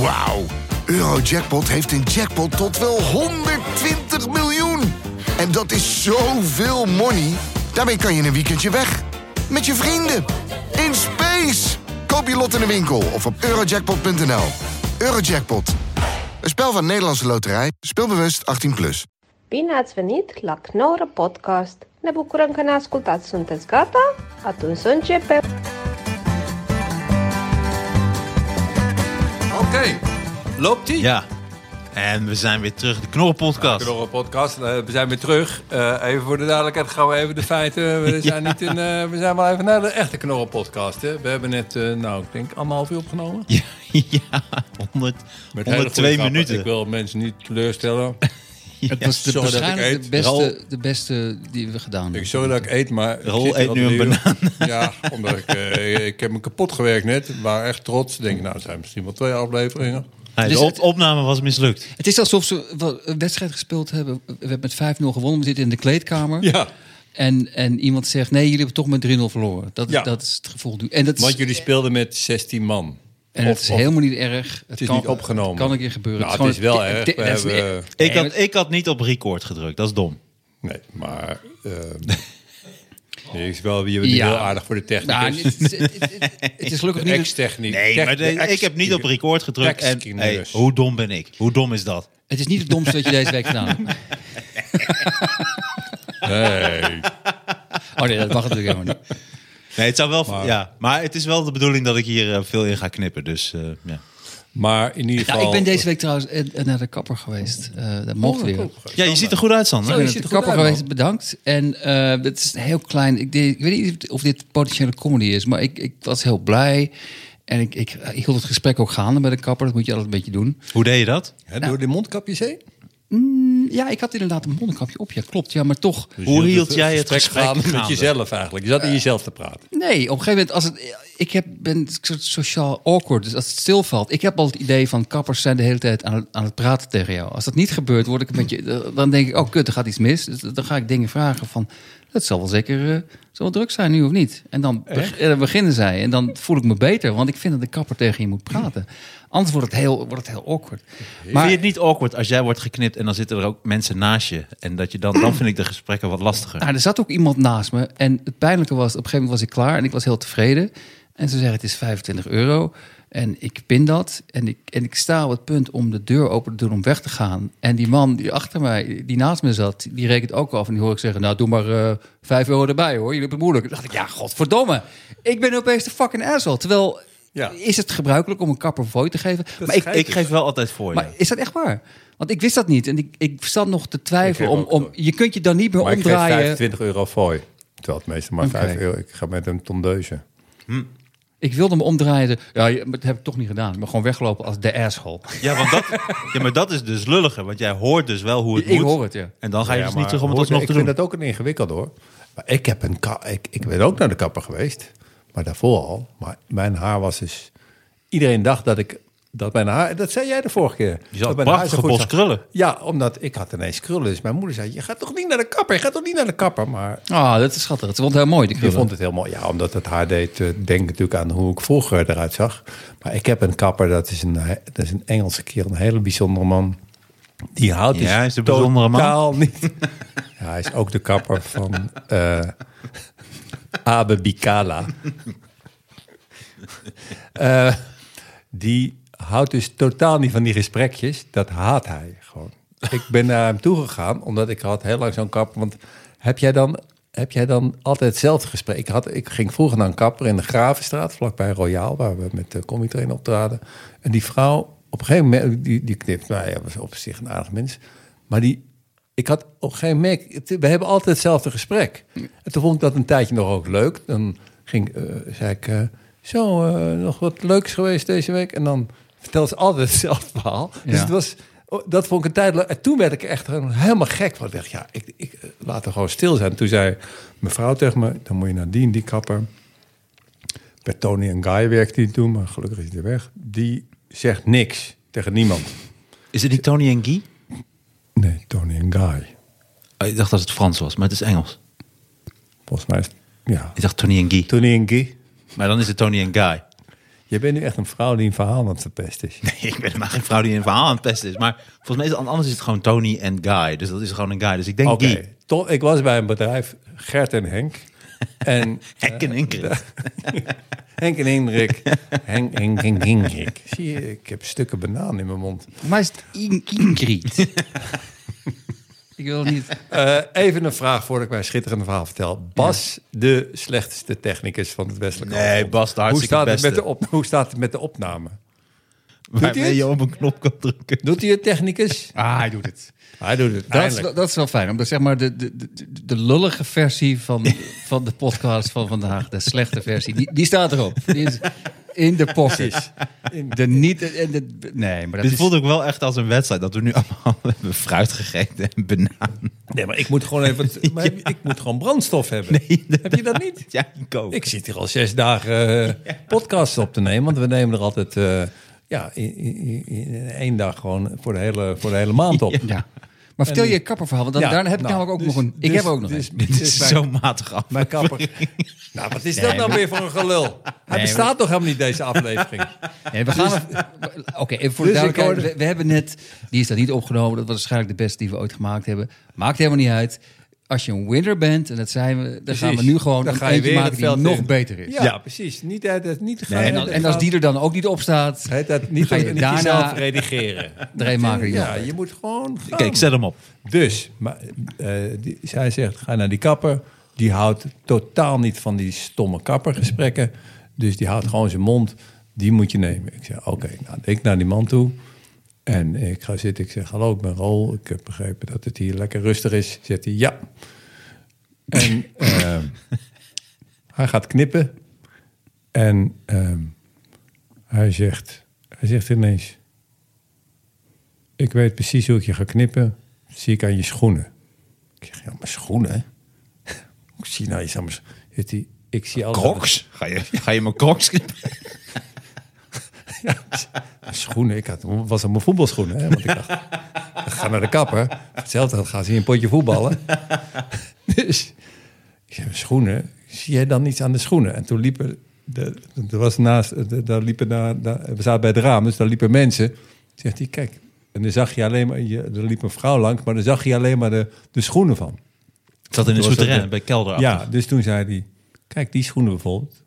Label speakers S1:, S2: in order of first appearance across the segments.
S1: Wauw. Eurojackpot heeft een jackpot tot wel 120 miljoen. En dat is zoveel money. Daarmee kan je in een weekendje weg. Met je vrienden. In space. Koop je lot in de winkel of op eurojackpot.nl. Eurojackpot. Een spel van Nederlandse Loterij. Speelbewust 18+. Plus.
S2: Bine ați venit la Knorr Podcast! Ne bucurăm că ne ascultați. Sunteți gata? Atunci să începem!
S3: Oké, loopt die?
S4: Ja. En we zijn weer terug, de Knorrenpodcast.
S3: Door een podcast. eh, we zijn weer terug. Eh, even voor de duidelijkheid gaan we even de feiten. We zijn, niet in, eh, we zijn wel even naar de echte knorrelpodcast. Hè. We hebben net, eh, nou, ik denk anderhalf uur opgenomen.
S4: Ja, ja 100,
S3: Met hele goede
S4: 102
S3: grappen.
S4: minuten.
S3: Ik wil mensen niet teleurstellen.
S5: Het was de,
S3: Sorry dat ik
S5: waarschijnlijk de
S3: eet.
S5: beste,
S4: Ralf.
S5: de beste die we gedaan
S3: Ik,
S5: hebben.
S3: sorry dat ik eet, maar... ik
S4: Rol
S3: zit hier
S4: eet
S3: al
S4: nu
S3: drie
S4: een
S3: uur. Ja, omdat ik, eh, ik heb me kapot gewerkt net. Maar echt trots. Ik Denk, nou, het zijn misschien wel twee afleveringen.
S4: Nee, de
S5: Dus het-
S4: op- opname was mislukt.
S5: Het is alsof ze wel een wedstrijd gespeeld hebben. We hebben met 5-0 gewonnen. We zitten in de kleedkamer.
S3: Ja,
S5: En, en iemand zegt, nee, jullie hebben toch met 3-0 verloren. Dat, is-
S3: Ja.
S5: dat is het gevoel nu. En dat is,
S3: want jullie speelden met 16 man.
S5: en
S3: Of-
S5: het is
S3: of-
S5: helemaal niet erg.
S3: Het is niet opgenomen.
S5: Het kan een keer gebeuren.
S3: Nou, het is
S5: gewoon-
S3: wel erg.
S5: dit-
S3: We
S5: dat is-
S3: hebben-
S5: Nee,
S4: Ik had,
S5: maar-
S4: ik had niet op record gedrukt, dat is dom.
S3: Nee, maar... ehm nee, is wel, je bent
S5: Ja.
S3: heel aardig voor de technicus.
S5: Nou, het, is- het- het- het- het is gelukkig
S3: De
S5: niet...
S3: ex-techniek.
S4: Nee,
S3: Tech-
S4: maar de-
S3: de ex-
S4: ik heb niet op record gedrukt. En,
S3: Tekstkennis.
S4: hey, hoe dom ben ik? Hoe dom is dat?
S5: Het is niet het domste wat je deze week gedaan hebt.
S3: Nee.
S5: Oh nee, dat mag natuurlijk helemaal niet.
S4: Nee, het zou wel... Maar, ja, maar het is wel de bedoeling dat ik hier eh, veel in ga knippen. Dus eh, ja.
S3: Maar in ieder
S5: Nou,
S3: geval...
S5: ik ben deze week trouwens eh, eh, naar de kapper geweest. Eh dat mocht weer.
S4: ja, je ziet er goed uit, Sander.
S5: Ik ben
S3: Oh, je
S5: met
S3: ziet
S5: de
S3: er goed
S5: kapper
S3: uit,
S5: geweest, bedankt. En eh, het is een heel klein... Ik, deed- ik weet niet of dit potentiële comedy is, maar ik, ik was heel blij. En ik, ik, ik hield het gesprek ook gaande bij de kapper. Dat moet je altijd een beetje doen.
S4: Hoe deed je dat?
S3: Hè, door de mondkapjes heen?
S5: Ja, ik had inderdaad een mondenkapje op. Ja, klopt. Ja, maar toch...
S4: Hoe hield jij het gesprek
S3: gaande met
S4: gaande?
S3: jezelf eigenlijk. Je zat in jezelf te praten.
S5: Nee, op een gegeven moment... Als het, ik heb, ben een soort sociaal awkward. Dus als het stilvalt... Ik heb al het idee van kappers zijn de hele tijd aan, aan het praten tegen jou. Als dat niet gebeurt, word ik een beetje... Dan denk ik, oh kut, er gaat iets mis. Dus dan ga ik dingen vragen van... Dat zal wel zeker eh, zal wel druk zijn nu of niet. En dan, beg- eh, dan beginnen zij. En dan voel ik me beter. Want ik vind dat de kapper tegen je moet praten. Anders wordt het heel, wordt het heel awkward.
S4: Vind
S5: Maar
S4: je het niet awkward als jij wordt geknipt en dan zitten er ook mensen naast je? En dat je dan, dan vind ik de gesprekken wat lastiger.
S5: nou, er zat ook iemand naast me. En het pijnlijke was, op een gegeven moment was ik klaar. En ik was heel tevreden. En ze zeggen, het is 25 euro. En ik pin dat. En ik, en ik sta op het punt om de deur open te doen om weg te gaan. En die man die achter mij, die naast me zat, die rekent ook af. En die hoor ik zeggen, nou doe maar eh 5 euro erbij hoor. Jullie hebben het moeilijk. Toen dacht ik, ja godverdomme. Ik ben opeens de fucking asshole. Terwijl,
S3: Ja.
S5: is het gebruikelijk om een kapper voor te geven? maar ik,
S4: Ik geef wel altijd voor je.
S5: Maar is dat echt waar? Want ik wist dat niet. En ik, ik zat nog te twijfelen.
S3: Ik heb
S5: Om,
S3: ook
S5: om, je kunt je dan niet meer
S3: Maar ik geef
S5: omdraaien. Ik,
S3: 25 euro voor je. Terwijl het meeste maar
S5: Oké.
S3: 5 euro. Ik ga met een tondeuze.
S5: wilde me omdraaien. Ja, je- maar dat heb ik toch niet gedaan. Ik ben gewoon weggelopen als de asshole.
S4: Ja, want dat, ja, maar dat is dus lulliger. Want jij hoort dus wel hoe het
S5: Ik
S4: moet.
S5: hoor het, ja.
S4: En dan ga je
S3: Ja,
S4: dus
S3: maar
S4: niet terug om het
S3: hoor,
S4: alsnog te
S3: Ik
S4: doen.
S3: vind dat ook een ingewikkeld hoor. Maar ik, heb een ka- ik, ik ben ook naar de kapper geweest. Maar daarvoor al. Maar mijn haar was dus... Iedereen dacht dat ik... Dat mijn haar... Dat zei jij de vorige keer.
S4: Je zat
S3: Dat mijn haar zo
S4: prachtige
S3: goed
S4: bos
S3: zat.
S4: krullen.
S3: Ja, omdat ik had ineens krullen. Dus mijn moeder zei, je gaat toch niet naar de kapper? Je gaat toch niet naar de kapper? Maar
S5: Ah, dat is schattig. Het vond heel mooi, die
S3: Je
S5: krullen.
S3: vond het heel mooi. Ja, omdat het haar deed, eh, denk ik natuurlijk aan hoe ik vroeger eruit zag. Maar ik heb een kapper, dat is een, he- dat is een Engelse kerel, een hele bijzondere man. Die houdt
S4: Ja,
S3: dus
S4: hij is een bijzondere man.
S3: totaal niet. ja, hij is ook de kapper van eh Abe Bikala. Eh, die houdt dus totaal niet van die gesprekjes. Dat haat hij gewoon. Ik ben naar hem toegegaan, omdat ik had heel lang zo'n kapper. Want heb jij dan, heb jij dan altijd hetzelfde gesprek? Ik, had, ik ging vroeger naar een kapper in de Gravenstraat, vlakbij Royaal, waar we met de combi-train optraden. En die vrouw, op een gegeven moment, die, die knipt, nou ja, was op zich een aardig mens. Maar die, ik had op geen merk. het- We hebben altijd hetzelfde gesprek. En toen vond ik dat een tijdje nog ook leuk. Dan ging, eh, zei ik, eh, zo, eh, nog wat leuks geweest deze week. En dan vertelde ze altijd hetzelfde verhaal. Dus
S5: Ja.
S3: het was, oh, dat vond ik een tijd leuk. En toen werd ik er echt gewoon helemaal gek. Want ik dacht, ja, ik, ik eh, laat er gewoon stil zijn. Toen zei mevrouw tegen me, dan moet je naar die en die kapper. Bij Tony en Guy werkte hij toen, maar gelukkig is hij er weg. Die zegt niks tegen niemand.
S4: Is het niet Tony en Guy?
S3: Nee, Tony en Guy.
S4: Oh, ik dacht dat het Frans was, maar het is Engels.
S3: Volgens mij is ja.
S4: Ik dacht Tony en Guy.
S3: Tony en Guy.
S4: Maar dan is het Tony en Guy.
S3: Je bent nu echt een vrouw die een verhaal aan het verpesten is.
S4: Nee, ik ben helemaal geen vrouw die een verhaal aan het pesten is. Maar volgens mij is het anders is het gewoon Tony en Guy. Dus dat is gewoon een guy. Dus ik denk
S3: Oké,
S4: Guy.
S3: tot ik was bij een bedrijf, Gert en Henk. En
S4: Hek en Ingrid.
S3: Henk en Hendrik. Henk, Henk, Henk, Hendrik. Zie je, ik heb stukken banaan in mijn mond.
S5: Maar is het In- Ingrid? ik wil niet...
S3: Eh, even een vraag voordat ik mijn schitterende verhaal vertel. Bas, de slechtste technicus van het Westelijk
S4: Nee,
S3: Halfrond.
S4: Bas, de
S3: hoe
S4: hartstikke
S3: staat, het
S4: beste.
S3: met de op, hoe staat het met de opname?
S4: Waarmee
S3: het?
S4: je op een knop kan drukken.
S3: Doet hij het technicus?
S5: Ah, hij doet het.
S3: Hij doet het,
S5: Dat is,
S3: eindelijk.
S5: dat is wel fijn, omdat zeg maar de, de, de, de lullige versie van, van de podcast van vandaag, de slechte versie, die, die staat erop. Die is in de pocket. De niet... En de, nee, maar dat
S4: Dit
S5: is...
S4: voelde ik wel echt als een wedstrijd. Dat we nu allemaal hebben fruit gegeten en banaan.
S3: Nee, maar ik moet gewoon even... Maar heb- Ik moet gewoon brandstof hebben. heb je dat niet?
S4: Ja, ik ook.
S3: Ik zit hier al zes dagen eh, podcasts op te nemen. Want we nemen er altijd eh, ja, in, in- in één dag gewoon voor de hele, voor de hele maand op.
S5: Ja. Maar vertel je kapperverhaal, want dan,
S3: Ja,
S5: daarna heb ik
S3: nou,
S5: namelijk ook
S3: dus-
S5: nog een... Ik
S3: dus-
S5: heb er ook nog
S3: dus-
S5: een.
S4: Dit is
S3: dus mijn-
S4: zo matig af.
S3: Mijn kapper. Nou, wat is dat nou weer voor een gelul? Hij bestaat
S5: maar-
S3: toch helemaal niet, deze aflevering?
S5: Nee, we gaan... Oké, even voor de
S3: Dus ik
S5: duidelijkheid.
S3: hoorde-
S5: We, we hebben net... Die is daar niet opgenomen. Dat was waarschijnlijk de beste die we ooit gemaakt hebben. Maakt helemaal niet uit. Als je een winner bent, en dat zijn we... Dan gaan we
S3: Precies.
S5: nu gewoon
S3: Dan
S5: een
S3: ga je
S5: eentje
S3: weer
S5: maken
S3: het
S5: die
S3: veld
S5: nog
S3: in.
S5: beter is.
S3: Ja, precies. Niet, uit het- niet gaan-
S5: En, dan- en als die er dan ook niet op staat...
S3: Heet dat niet
S5: ga je
S3: niet
S5: daarna-
S3: jezelf redigeren.
S5: Erin maken die
S3: Ja,
S5: nog
S3: je moet gewoon gaan.
S4: Kijk, zet hem op.
S3: Dus, maar, eh, die, zij zegt, ga naar die kapper. Die houdt totaal niet van die stomme kappergesprekken. Dus die houdt gewoon zijn mond. Die moet je nemen. Ik zeg, oké, nou, ik naar die man toe. En ik ga zitten. Ik zeg, hallo, ik ben Rol. Ik heb begrepen dat het hier lekker rustig is. Zegt hij, ja. En ehm, hij gaat knippen. En ehm, hij, zegt, hij zegt ineens... Ik weet precies hoe ik je ga knippen. Zie ik aan je schoenen. Ik zeg, ja, mijn schoenen? Hoe zie je nou iets aan mijn schoenen? Zegt hij, Ik zie altijd...
S4: Crocs? Ga je, ga je mijn crocs knippen?
S3: Mijn schoenen, ik had, was aan mijn voetbalschoenen. Hè? Want ik dacht, ik ga naar de kapper. Voor Hetzelfde geld gaan ze hier een potje voetballen. Dus ik zei, mijn schoenen, zie jij dan iets aan de schoenen? En toen liepen, de, er was naast, de- daar liepen daar, daar- we zaten bij het raam, dus daar liepen mensen. Zegt hij, kijk, en dan zag je alleen maar, je, er liep een vrouw langs, maar dan zag je alleen maar de, de schoenen van.
S4: Het zat in de
S3: Toen was dat
S4: souterrain,
S3: de-
S4: bij kelder.
S3: Ja, dus toen zei hij, kijk, die schoenen bijvoorbeeld.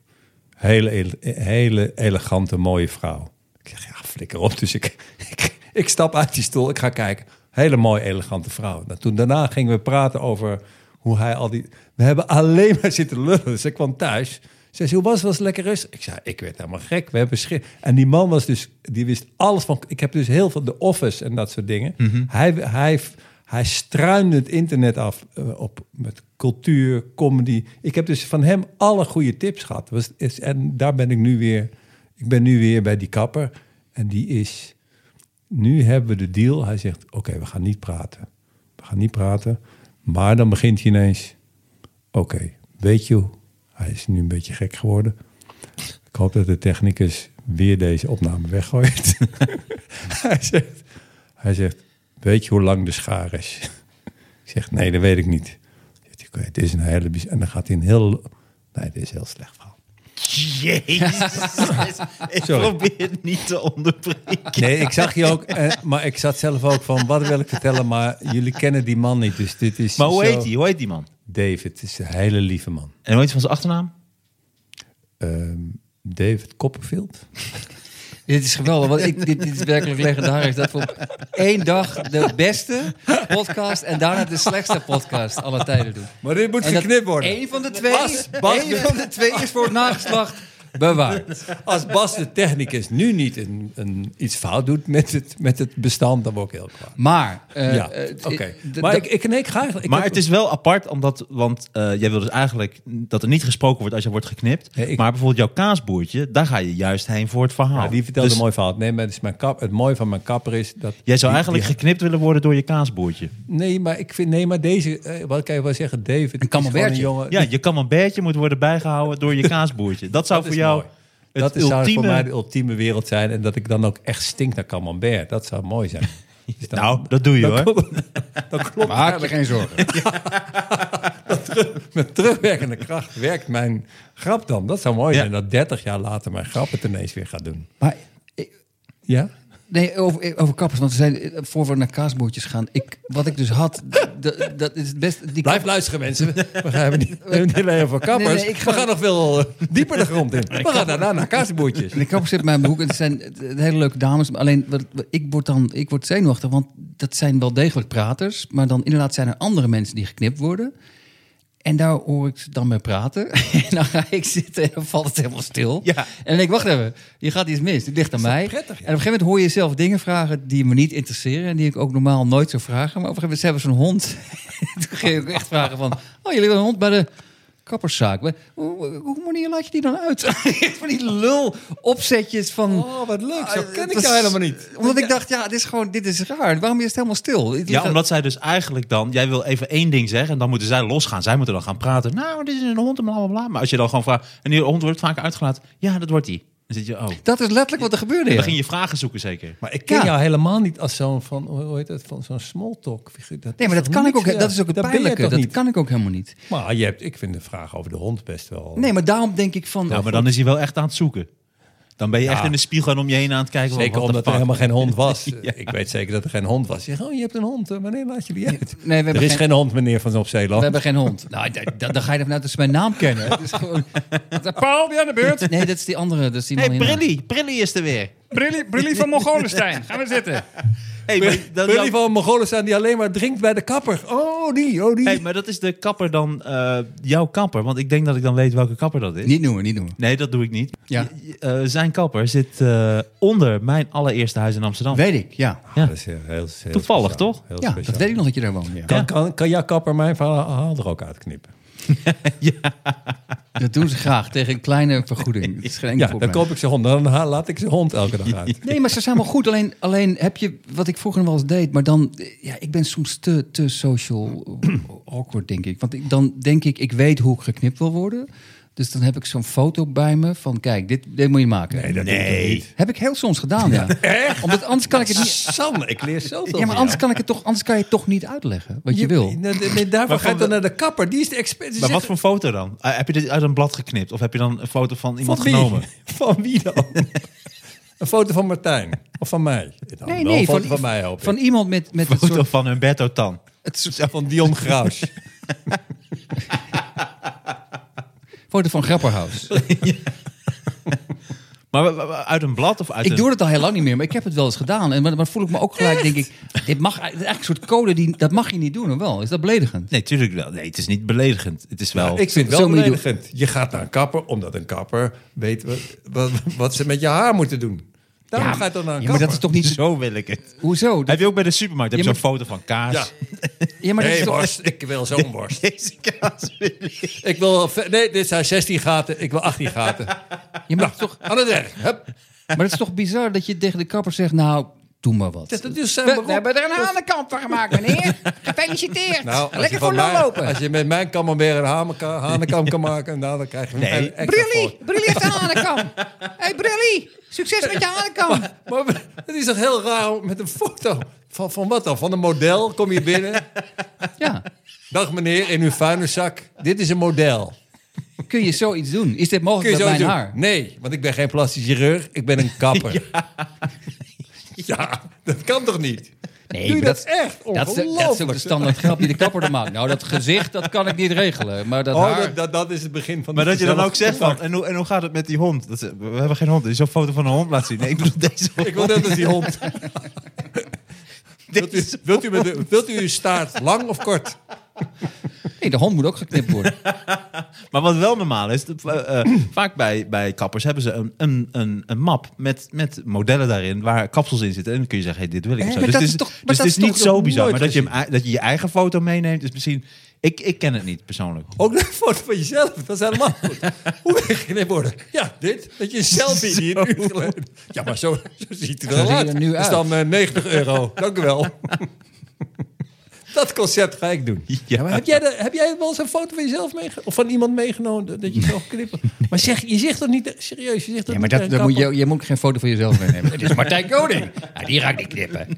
S3: Hele, ele- hele elegante, mooie vrouw. Ik zeg, ja, flikker op. Dus ik, ik, ik stap uit die stoel, ik ga kijken. Hele mooie, elegante vrouw. Nou, toen daarna gingen we praten over hoe hij al die... We hebben alleen maar zitten lullen. Ze kwam thuis. Ze zei, hoe was het? Was het lekker rustig? Ik zei, ik werd helemaal gek. We hebben schi- En die man was dus, die wist alles van... Ik heb dus heel veel de office en dat soort dingen.
S4: Mhm.
S3: Hij, hij, hij struinde het internet af eh, op, met cultuur, comedy. Ik heb dus van hem alle goede tips gehad. Was, is, en daar ben ik nu weer... Ik ben nu weer bij die kapper. En die is... Nu hebben we de deal. Hij zegt, oké, we gaan niet praten. We gaan niet praten. Maar dan begint hij ineens... Oké, weet je, hoe- hij is nu een beetje gek geworden. Ik hoop dat de technicus weer deze opname weggooit. hij, zegt, hij zegt, weet je hoe lang de schaar is? ik zeg, nee, dat weet ik niet. Zegt hij, "Oké, het is een hele... bijz- En dan gaat hij een heel... Nee, dit is een heel slecht verhaal.
S4: Jezus. ik
S3: Sorry.
S4: probeer het niet te onderbreken.
S3: Nee, ik zag je ook, eh, maar ik zat zelf ook van, wat wil ik vertellen? Maar jullie kennen die man niet, dus dit is
S4: Maar hoe
S3: zo-
S4: heet die? Hoe heet die man?
S3: David, het is een hele lieve man.
S4: En hoe heet hij van zijn achternaam?
S3: Ehm, David Copperfield?
S5: Dit is geweldig, want ik, dit, dit is werkelijk legendarisch. Dat we op één dag de beste podcast en daarna de slechtste podcast alle tijden doen.
S3: Maar dit moet
S5: En dat
S3: geknipt worden.
S5: één van de twee,
S3: Bas, Bas,
S5: één van de twee is voor het nageslacht bewaard.
S3: Als Bas de technicus nu niet een, een, iets fout doet met het, met het bestand, dan word ik heel kwaad.
S5: Maar, eh,
S3: ja,
S5: eh,
S3: oké.
S5: d-
S3: Maar
S5: d-
S3: ik, ik, nee, ik ga eigenlijk... ik
S4: maar
S3: heb-
S4: het is wel apart, omdat, want eh, jij wil dus eigenlijk dat er niet gesproken wordt als je wordt geknipt.
S3: Nee, ik-
S4: Maar bijvoorbeeld jouw kaasboertje, daar ga je juist heen voor het verhaal.
S3: Ja, die vertelde
S4: Dus
S3: een mooi verhaal. Nee, maar het, is mijn kap, het mooie van mijn kapper is dat...
S4: Jij zou
S3: die-
S4: eigenlijk
S3: die-
S4: geknipt willen worden door je kaasboertje.
S3: nee, maar ik vind... Nee, maar deze... eh, wat kan je wel zeggen? David is gewoon een
S5: camembertje.
S3: jongen...
S4: Ja, je kamembertje moet worden bijgehouden door je kaasboertje. Dat zou
S3: Dat is
S4: voor jou
S3: mooi.
S4: het
S3: dat is- zou
S4: ultieme...
S3: voor mij de ultieme wereld zijn. En dat ik dan ook echt stink naar camembert. Dat zou mooi zijn. Dus dan-
S4: Nou, dat doe je
S3: dan
S4: hoor.
S3: klopt- dan klopt
S5: maak je geen zorgen.
S3: dat terug- met terugwerkende kracht werkt mijn grap dan. Dat zou mooi
S4: Ja.
S3: zijn, dat 30 jaar later mijn grap het ineens weer gaat doen.
S5: Maar ik-
S3: Ja?
S5: nee, over, eh, over kappers, want ze zijn eh, voor we naar kaasboertjes gaan. Ik, wat ik dus had, dat, dat is het beste. Die
S3: Blijf luisteren, mensen. We gaan niet, we hebben niet alleen over kappers.
S5: Nee, nee, ik ga-
S3: We gaan nog veel eh, dieper de grond in. We gaan daarna naar kaasboertjes.
S5: En de kapper zit bij mijn boek en het zijn het- het hele leuke dames. Maar Alleen, wat- wat- ik word dan ik word zenuwachtig, want dat zijn wel degelijk praters. Maar dan inderdaad zijn er andere mensen die geknipt worden. En daar hoor ik ze dan mee praten. En dan ga ik zitten en dan valt het helemaal stil.
S4: Ja.
S5: En dan denk ik, wacht even, je gaat iets mis. Dit ligt aan mij.
S3: prettig, ja.
S5: En op een gegeven moment hoor je zelf dingen vragen die me niet interesseren. En die ik ook normaal nooit zou vragen. Maar op een gegeven moment, ze hebben zo'n hond. Toen ging ik ook echt vragen van, oh, jullie hebben een hond bij de kapperszaak. Hoe, hoe, hoe manier laat je die dan uit? van die lul opzetjes van...
S3: Oh, wat leuk. Zo
S5: Ah,
S3: ken
S5: dat
S3: ik jou
S5: is-
S3: helemaal niet.
S5: Omdat ik dacht, ja, dit is gewoon, dit is raar. Waarom is het helemaal stil? Het
S4: Ja,
S5: ligt-
S4: omdat zij dus eigenlijk dan... Jij wil even één ding zeggen en dan moeten zij losgaan. Zij moeten dan gaan praten. Nou, dit is een hond en bla, bla, bla. Maar als je dan gewoon vraagt... En die hond wordt vaak uitgelaten. Ja, dat wordt die. Dan zit je... Oh.
S5: Dat is letterlijk wat er gebeurde. ja.
S4: Dan ging je vragen zoeken zeker.
S3: Maar ik ken
S5: Ja.
S3: jou helemaal niet als zo'n van, hoe heet dat, van zo'n small talk figuur.
S5: Nee, maar dat kan ik ook. Dat is ook het
S3: eh, dat ben jij
S5: pijnlijke.
S3: toch
S5: Dat
S3: niet?
S5: kan ik ook helemaal niet.
S3: Maar je hebt, ik vind de vraag over de hond best wel.
S5: Nee, maar daarom denk ik van.
S4: Ja, maar dan is hij wel echt aan het zoeken. Dan ben je echt
S3: Ja.
S4: in de spiegel en om je heen aan het kijken. van,
S3: Zeker
S4: what the
S3: omdat er
S4: fuck?
S3: helemaal geen hond was. Ik weet zeker dat er geen hond was. Je zegt, oh, je hebt een hond. eh, Wanneer laat je die uit?
S5: we hebben
S3: er is
S5: geen-
S3: geen... hond, meneer Van op
S5: We
S3: Zeeland.
S5: hebben geen hond. Nou, da- da- dan ga je ervan uit dat ze mijn naam kennen. Het is gewoon. Paul, ben je aan de beurt? Nee, dat is die andere. Dat is die
S4: hey,
S5: man hierna.
S4: Brilly. Brilly is er weer.
S5: Brilly, Brilly van Mongolenstein. Gaan we zitten.
S4: Hey, maar, dat,
S3: Jullie van Mongolistan die alleen maar drinkt bij de kapper. Oh, die, oh, die.
S4: hey, maar dat is de kapper dan... eh, jouw kapper. Want ik denk dat ik dan weet welke kapper dat is.
S5: Niet noemen, niet noemen.
S4: Nee, dat doe ik niet.
S5: Ja.
S4: Eh, zijn kapper zit eh, onder mijn allereerste huis in Amsterdam.
S5: Weet ik, ja.
S4: Ja.
S3: Dat is heel, heel
S4: Toevallig,
S3: speciaal.
S4: toch?
S3: Heel
S5: Ja,
S3: speciaal.
S5: dat weet ik nog dat je daar woont. Ja.
S3: Kan, kan, kan jouw kapper mijn verhaal er ook uitknippen?
S5: Dat doen ze graag tegen een kleine vergoeding. Dat is geen enkel
S3: Ja, dan
S5: probleem.
S3: koop ik zijn hond. Dan ha- laat ik zijn hond elke dag uit.
S5: Nee, maar ze zijn wel goed. Alleen, alleen heb je wat ik vroeger wel eens deed, maar dan, eh, ja, ik ben soms te, te social awkward, denk ik. Want ik, dan denk ik, ik weet hoe ik geknipt wil worden. Dus dan heb ik zo'n foto bij me van, kijk, dit, dit moet je maken.
S3: Nee, dat doe ik niet.
S5: Heb ik heel soms gedaan, ja. Echt? Omdat anders kan ik het niet.
S3: Sanne, ik leer zoveel
S5: Ja,
S3: van
S5: maar anders
S3: jou.
S5: kan ik het toch, anders kan je het toch niet uitleggen wat je wil.
S3: Nee, nee, nee, daarvoor ga je dan naar de kapper. Die is de expert. Die
S4: Maar
S3: zit-
S4: wat voor foto dan? Eh, heb je dit uit een blad geknipt? Of heb je dan een foto van iemand
S3: wie?
S4: genomen?
S3: Van wie dan? een foto van Martijn. Of van mij. Dan
S5: Nee,
S3: Nou, wel
S5: nee,
S3: een foto van, mij hoop ik.
S5: Van iemand met, met het
S4: Foto
S5: soort,
S4: van Humberto Tan.
S5: het soort
S3: van Dion Graus.
S5: foto van Grapperhaus.
S4: Maar wa- wa- wa- uit een blad of uit
S5: Ik
S4: een...
S5: doe dat al heel lang niet meer, maar ik heb het wel eens gedaan. En maar, maar voel ik me ook gelijk, denk ik, dit mag dit is eigenlijk een soort code die dat mag je niet doen, of wel? Is dat beledigend?
S4: Nee, tuurlijk wel. Nee, het is niet beledigend. Het is wel...
S3: ik vind het
S5: Zo
S3: wel
S5: moet je doen.
S3: beledigend. Je gaat naar een kapper omdat een kapper weet wat, wat, wat ze met je haar moeten doen. Daarom ga je dan naar een
S5: ja, maar
S3: kapper.
S5: dat is toch niet zo?
S4: Zo wil ik het.
S5: Hoezo? Dat-
S4: Heb je ook bij de supermarkt heb je
S5: Je
S4: zo'n foto van kaas?
S3: Ja.
S5: ja, maar dat
S3: Hé,
S5: is toch-
S3: worst. Ik wil zo'n worst.
S4: Deze kaas wil ik.
S3: Ik wil... ve- Nee, dit zijn 16 gaten. Ik wil 18 gaten.
S5: ja, maar, dat is toch,
S3: Aan het werk. Hup.
S5: maar dat is toch bizar dat je tegen de kapper zegt, nou, doe maar wat.
S3: Dat is eh, zijn beroep.
S5: er een hanenkant van gemaakt, meneer. Gefeliciteerd.
S3: Nou, als je van mij- Als je met mijn weer een hanenkam, hanenkam kan maken, nou, dan krijg je
S4: Nee.
S3: een extra voor.
S5: Brilly heeft een hanenkam. hey, Brilly, succes met je hanenkam.
S3: Maar het is toch heel raar om met een foto. Van, van wat dan? Van een model kom je binnen.
S5: Ja,
S3: Dag meneer, in uw vuilniszak. Dit is een model.
S5: kun je zoiets doen? Is dit mogelijk
S3: Kun je
S5: met
S3: zo
S5: mijn
S3: doen?
S5: haar?
S3: Nee, want ik ben geen plastisch chirurg. Ik ben een kapper. Ja, dat kan toch niet?
S5: Nee,
S3: Doe je
S5: maar
S3: dat, echt?
S5: Dat is, de, dat is ook de
S3: Ongelooflijk.
S5: standaard grap die de kapper dan maakt. Nou, dat gezicht, dat kan ik niet regelen. Maar dat
S3: Oh,
S5: haar...
S3: dat, dat, dat is het begin van
S4: Maar
S3: de
S4: dat je dan ook
S3: gezellige
S4: zegt van... En hoe, en hoe gaat het met die hond? Dat, ze- we hebben geen hond. Dus zo'n foto van een hond laat zien. Nee, ik bedoel deze hond.
S3: Ik wil net als die hond. Wilt u,
S4: Deze
S3: wilt, u met de- wilt u uw staart lang of kort?
S5: Nee, de hand moet ook geknipt worden.
S4: Maar wat wel normaal is, dat, eh, eh, vaak bij, bij kappers hebben ze een, een, een, een map met, met modellen daarin waar kapsels in zitten. En dan kun je zeggen, hey, dit wil ik. of zo.
S5: maar
S4: Dus
S5: dat
S4: het is,
S5: is toch- maar
S4: dus
S5: dat
S4: het is
S5: is
S4: niet
S5: toch
S4: zo
S5: nog
S4: bizar.
S3: nooit
S4: Maar dat je, hem, ei- dat je je eigen foto meeneemt is misschien... Ik, ik ken het niet persoonlijk.
S3: Ook een foto van jezelf, dat is helemaal goed. Hoe wil je geknipt worden? Ja, dit. Dat je een selfie die een uur geleden... Ja, maar zo, zo ziet het er wel
S5: Zo zie je
S3: uit.
S5: er nu
S3: Dat is
S5: uit.
S3: dan eh, 90 euro. Dank u wel. Dat concept ga ik doen. Ja, maar heb, jij de- heb jij wel eens een foto van jezelf meegenomen? Of van iemand meegenomen dat- dat je zo geknipt wordt? Maar zeg, je zegt dat niet serieus. Je zegt dat
S5: Ja, maar
S3: niet
S5: dat,
S3: tegen
S5: dat moet
S3: een
S5: je, je moet ook geen foto van jezelf meenemen. Het is Martijn Koning. Ja, die raakt niet knippen.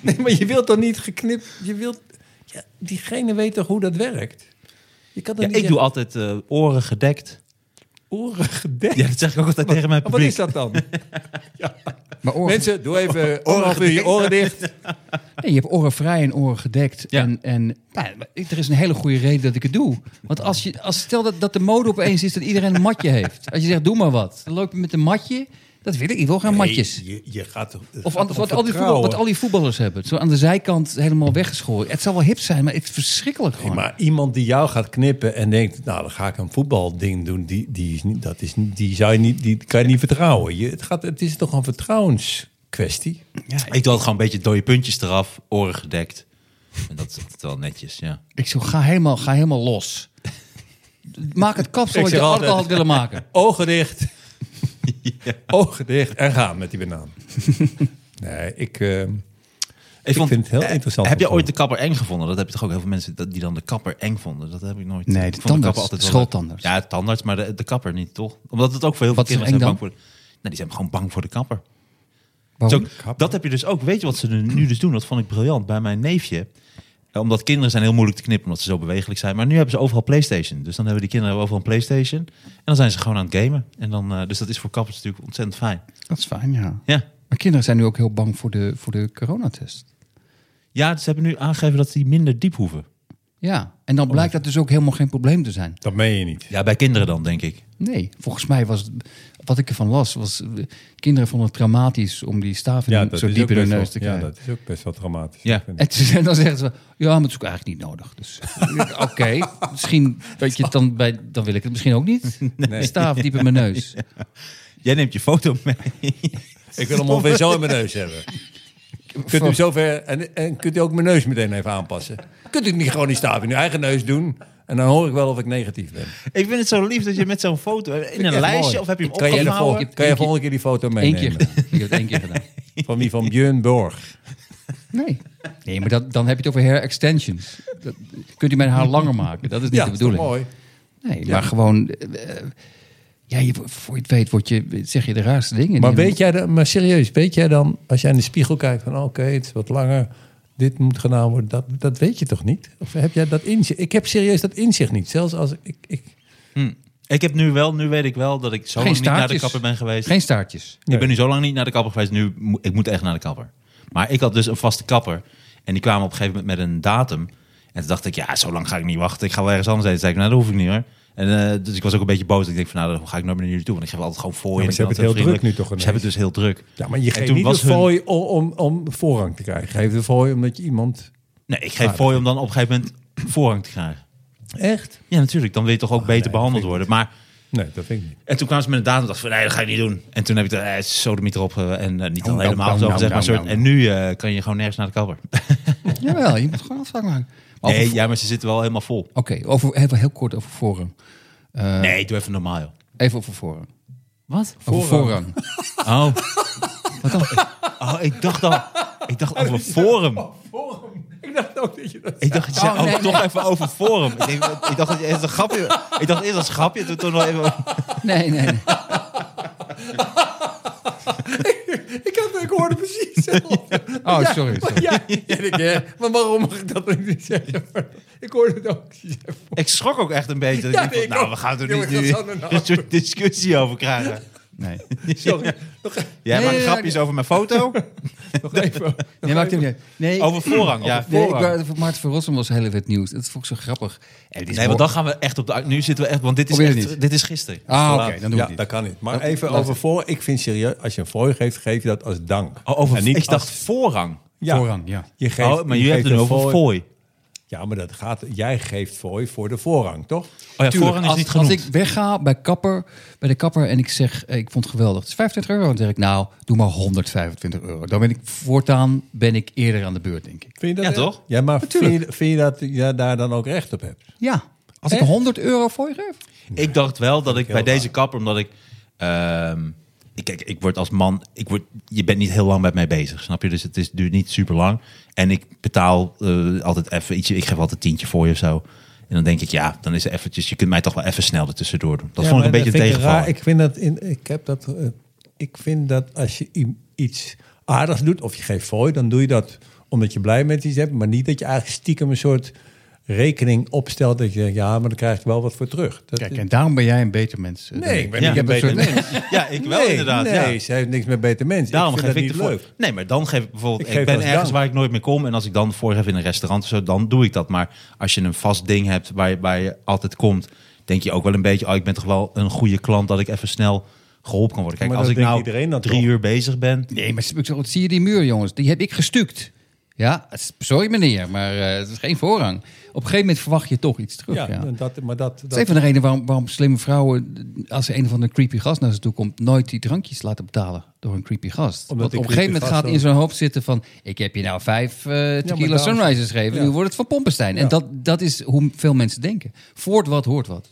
S3: Nee, maar je wilt toch niet geknipt... Je wilt... Ja, diegene weet toch hoe dat werkt? Je kan er
S4: Ja,
S3: niet
S4: ik doe altijd eh, oren gedekt.
S3: oren gedekt.
S4: Ja, dat zeg ik ook altijd tegen
S3: Maar
S4: mijn
S3: Wat
S4: publiek.
S3: is dat dan?
S5: Maar oren,
S3: Mensen, doe even oren, oren, je oren dicht.
S5: nee, je hebt oren vrij en oren gedekt.
S4: Ja.
S5: En, en nou, maar ik- er is een hele goede reden dat ik het doe. Want als je, als stel dat, dat de mode opeens is dat iedereen een matje heeft. Als je zegt, doe maar wat. Dan loop je met een matje. Dat wil ik. Ik wil geen matjes.
S3: Nee, je, je gaat toch- het
S5: Of
S3: gaat
S5: anders,
S3: om
S5: wat, al die voetbal,
S3: vertrouwen.
S5: wat al die voetballers hebben. Zo aan de zijkant helemaal weggeschoren. Het zal wel hip zijn, maar het is verschrikkelijk
S3: Nee,
S5: gewoon.
S3: maar iemand die jou gaat knippen en denkt, nou dan ga ik een voetbalding doen, die, die, is niet, dat is, niet- die, zou je niet, die kan je niet vertrouwen. Je, het, gaat, het is toch een vertrouwenskwestie?
S4: Ik doe altijd gewoon een beetje dode puntjes eraf, oren gedekt. En dat is altijd wel netjes, ja.
S5: Ik zo, ga helemaal, ga helemaal los. Maak het kapsel
S3: Ik
S5: wat je
S3: zeg
S5: altijd al had
S3: altijd-
S5: willen maken.
S3: Ogen dicht. Ogen dicht en gaan met die banaan. nee, ik, eh, ik
S4: vond-
S3: vind het heel
S4: eh,
S3: interessant.
S4: Heb je
S3: om te
S4: ooit de kapper eng gevonden? Dat heb je toch ook heel veel mensen dat- die dan de kapper eng vonden? Dat heb ik nooit.
S5: Nee, de
S4: Ik vond
S5: tandarts,
S4: kapper
S5: de
S4: wel leuk.
S5: schooltandarts.
S4: Ja, de tandarts, maar de, de kapper niet, toch? Omdat het ook voor heel veel
S5: Wat is er
S4: kinderen zijn
S5: eng
S4: bang voor... Nou, die zijn gewoon bang voor de kapper.
S5: Waarom?
S4: Zo, dat heb je dus ook. Weet je wat ze nu- nu dus doen? Dat vond ik briljant bij mijn neefje. Eh, Omdat kinderen zijn heel moeilijk te knippen, omdat ze zo bewegelijk zijn. Maar nu hebben ze overal PlayStation. Dus dan hebben die kinderen overal een PlayStation. En dan zijn ze gewoon aan het gamen. En dan, eh, dus dat is voor kappers natuurlijk ontzettend fijn.
S5: Dat is fijn, ja.
S4: Ja.
S5: Maar kinderen zijn nu ook heel bang voor de, voor de coronatest.
S4: ja, ze hebben nu aangegeven dat die minder diep hoeven.
S5: Ja, en dan blijkt dat dus ook helemaal geen probleem te zijn.
S3: Dat meen je niet.
S4: Ja, bij kinderen dan, denk ik.
S5: Nee, volgens mij was het, wat ik ervan las, was eh, kinderen vonden het traumatisch om die staaf in
S3: Ja,
S5: hun-
S3: dat,
S5: zo
S3: is
S5: diep
S3: ook
S5: in hun
S3: best wel,
S5: neus te
S3: ja
S5: krijgen.
S3: dat is ook best wel dramatisch.
S4: Ja.
S3: Ik vind-
S5: En toen zei- dan zeggen ze, ja, maar het is ook eigenlijk niet nodig. Dus oké, misschien dat je het dan bij, dan wil ik het misschien ook niet. Een staaf diep in mijn neus.
S4: Jij neemt je foto mee.
S3: Ik wil hem ongeveer zo in mijn neus hebben. Kunt u hem zover en, en kunt u ook mijn neus meteen even aanpassen? Kunt u het niet gewoon die staaf in uw eigen neus doen? En dan hoor ik wel of ik negatief ben.
S4: Ik vind het zo lief dat je met zo'n foto in een
S3: Echt
S4: lijstje
S3: mooi.
S4: of heb je hem
S3: kan je, de
S4: opgehouden?
S3: volgende, kan je volgende keer die foto
S5: Eén keer
S3: meenemen?
S5: gedaan. Ik heb het één keer gedaan.
S3: Van wie? Van Björn Borg.
S5: Nee. Nee, maar dat, dan heb je het over hair extensions. Dat, kunt u mijn haar langer maken? Dat is niet
S3: Ja,
S5: de
S3: dat is toch
S5: bedoeling.
S3: mooi.
S5: Nee, maar gewoon... eh, eh, ja, je, voor je het weet word je, zeg je de raarste dingen.
S3: Maar
S5: Die-
S3: weet jij dan, maar serieus, weet jij dan, als jij in de spiegel kijkt van oké, het is wat langer, dit moet gedaan worden, dat, dat weet je toch niet? Of heb jij dat inzicht? Ik heb serieus dat inzicht niet. Zelfs als ik, ik
S4: Ik heb nu wel, nu weet ik wel dat ik zo
S5: Geen
S4: lang niet naar de
S5: staartjes.
S4: kapper ben geweest.
S5: Geen staartjes.
S3: Nee.
S4: Ik ben nu zo lang niet naar de kapper geweest. Nu mo- ik moet echt naar de kapper. Maar ik had dus een vaste kapper. En die kwamen op een gegeven moment met een datum. En toen dacht ik, ja, zo lang ga ik niet wachten. Ik ga wel ergens anders heen. Toen zei ik, nou, dat hoef ik niet hoor. En, eh, dus ik was ook een beetje boos. Ik denk van, nou, dan ga ik nooit meer naar jullie toe. Want ik geef altijd gewoon voor je.
S3: Ja, maar ze
S4: Ik ben
S3: hebben het
S4: altijd
S3: heel druk
S4: vriendelijk.
S3: nu toch
S4: Ze hebben het dus heel druk.
S3: Ja, maar je
S4: En
S3: geeft
S4: toen
S3: niet de
S4: was hun-
S3: fooi om, om, om voorrang te krijgen. Je geeft de fooi omdat je iemand...
S4: Nee, ik geef voor je om dan op een gegeven moment voorrang te krijgen.
S3: Echt?
S4: Ja, natuurlijk. Dan wil je toch ook beter
S3: nee,
S4: behandeld
S3: vind ik
S4: worden. Maar
S3: Nee, dat vind ik niet.
S4: En toen kwamen ze met een datum en dacht ik van, nee, dat ga ik niet doen. En toen heb ik de eh, sodemiet erop eh, en eh, niet al
S5: nou,
S4: helemaal
S5: nou,
S4: zo
S5: nou,
S4: gezegd, maar
S5: nou,
S4: soort,
S5: nou.
S4: en nu eh, kan je gewoon nergens naar de kapper.
S5: Jawel, je moet gewoon afspraak maken. Maar over-
S4: Nee, ja, maar ze zitten wel helemaal vol.
S5: Oké, over even heel kort over voorrang. Eh,
S4: Nee, doe even normaal, joh.
S5: Even over voorrang.
S4: Wat?
S5: Over voorrang.
S4: Oh. Wat dan? Oh, ik dacht al, ik dacht over forum.
S3: Ik dacht ook dat je dat...
S4: Ik dacht, je zei, oh, toch even over forum. Ik, denk, ik dacht dat je eerst een grapje, ik dacht eerst als grapje, toen toen wel even...
S5: Nee, nee, nee.
S3: Ik, had, ik hoorde precies hetzelfde.
S5: Oh, sorry. sorry.
S3: Ja, ja, ik, hè, maar waarom mag ik dat ook niet zeggen? Ik hoorde het ook.
S4: Ik schrok ook echt een beetje. dat
S3: Ja,
S4: ik
S3: nee, ik
S4: dacht, nou,
S3: ook.
S4: we gaan er
S3: Ja,
S4: niet
S3: maar
S4: nu
S3: dat zou nou-
S4: een soort discussie over krijgen.
S5: Nee.
S3: Sorry, nog,
S4: Jij
S5: Nee,
S4: maakt
S5: nee,
S4: grapjes over mijn foto,
S3: nog even.
S5: Nee, maakt hem niet uit. Nee,
S4: over voorrang. Ja.
S5: nee ik,
S3: voorrang.
S5: wou- voor Maarten van Rossum was heel even het nieuws. Dat vond ik zo grappig. En dit is
S4: Nee, want
S5: mooi.
S4: dan gaan we echt op de. Nu zitten we echt. Want dit is,
S5: Probeer het
S4: echt,
S5: niet.
S4: dit is gisteren.
S5: Ah, oké, dan doen we
S3: Ja,
S5: het
S3: dat
S5: niet.
S3: kan niet. Maar
S5: Dat-
S3: even
S5: laat
S3: over
S5: het.
S3: voor. Ik vind serieus, als je een fooi geeft, geef je dat als dank.
S4: Oh, over,
S3: en niet
S4: ik dacht
S3: als-
S4: voorrang.
S3: ja,
S5: Voorrang, ja.
S3: Je geeft,
S4: oh, maar
S3: je
S4: jullie
S3: geeft
S4: hebben het
S3: een
S4: nu over
S3: fooi.
S4: fooi. Oh
S3: Ja, maar dat gaat, jij geeft fooi voor de voorrang, toch?
S4: Oh ja,
S5: Tuurlijk,
S4: voorrang is
S5: als,
S4: niet
S5: als
S4: genoemd.
S5: ik wegga bij, kapper, bij de kapper en ik zeg, eh, ik vond het geweldig, het is 25 euro. Dan zeg ik, nou, doe maar 125 euro. Dan ben ik voortaan ben ik eerder aan de beurt, denk ik.
S3: Vind je dat
S4: Ja,
S3: echt?
S4: toch?
S3: Ja, maar vind
S5: Natuurlijk.
S3: je, vind je dat je daar dan ook recht op hebt?
S5: Ja, als ik
S3: Echt?
S5: 100 euro voor je geef.
S4: Ik dacht wel dat ik bij
S3: heel
S4: deze kapper, omdat ik. ehm, ik kijk, ik word als man. Ik word, je bent niet heel lang met mij bezig, snap je? Dus het is, duurt niet super lang. En ik betaal eh, altijd even ietsje. Ik geef altijd een tientje voor je of zo. En dan denk ik, ja, dan is er eventjes. Je kunt mij toch wel even snel ertussendoor doen. Dat
S3: Ja,
S4: vond ik een
S3: maar
S4: beetje
S3: dat
S4: een
S3: vind ik
S4: tegenval.
S3: raar. Ik vind dat in, ik heb dat. eh, ik vind dat als je i- iets aardigs doet of je geeft fooi, dan doe je dat omdat je blij met iets hebt, maar niet dat je eigenlijk stiekem een soort rekening opstelt dat je denkt, ja, maar dan krijg je wel wat voor terug. Dat
S5: Kijk,
S3: is-
S5: en daarom ben jij een beter mens. eh, denk
S3: nee, ik ben
S4: Ja.
S3: niet een
S4: Ik heb
S3: beter
S5: een soort-
S3: mens.
S4: Ja, ik wel
S3: Nee,
S4: inderdaad.
S3: Nee,
S4: ja.
S3: ze heeft niks met beter mens.
S4: Daarom
S3: ik
S4: geef
S3: vind
S4: ik
S3: dat
S4: de
S3: niet
S4: voor-
S3: leuk.
S4: Nee, maar dan geef ik bijvoorbeeld.
S3: Ik
S4: Ik,
S3: geef
S4: ben
S3: als
S4: ergens
S3: dank.
S4: waar ik nooit meer kom. En als ik dan voorgeef in een restaurant of zo, dan doe ik dat. Maar als je een vast ding hebt waar je, waar je altijd komt, denk je ook wel een beetje. Oh, ik ben toch wel een goede klant dat ik even snel geholpen kan worden. Kijk,
S3: Maar
S4: als
S3: dat
S4: ik
S3: denkt
S4: nou
S3: iedereen dan
S4: drie
S3: toch?
S4: uur bezig ben.
S5: Nee, maar ik zeg, wat zie je die muur, jongens? Die heb ik gestuukt. Ja, het is- sorry meneer, maar eh, het is geen voorrang. Op een gegeven moment verwacht je toch iets terug.
S3: Ja,
S5: Ja,
S3: en Dat, maar dat,
S5: Dat is een van de redenen waarom, waarom slimme vrouwen, als er een of andere creepy gast naar ze toe komt, nooit die drankjes laten betalen door een creepy gast.
S3: Omdat
S5: Want
S3: die
S5: op een gegeven
S3: creepy
S5: moment gaat
S3: gast
S5: in zijn hoofd zitten van, ik heb je nou vijf eh tequila
S3: daarom-
S5: sunrises gegeven,
S3: Ja.
S5: nu wordt het van Pompenstein.
S3: Ja.
S5: En dat, dat is hoe veel mensen denken. Voort wat hoort wat.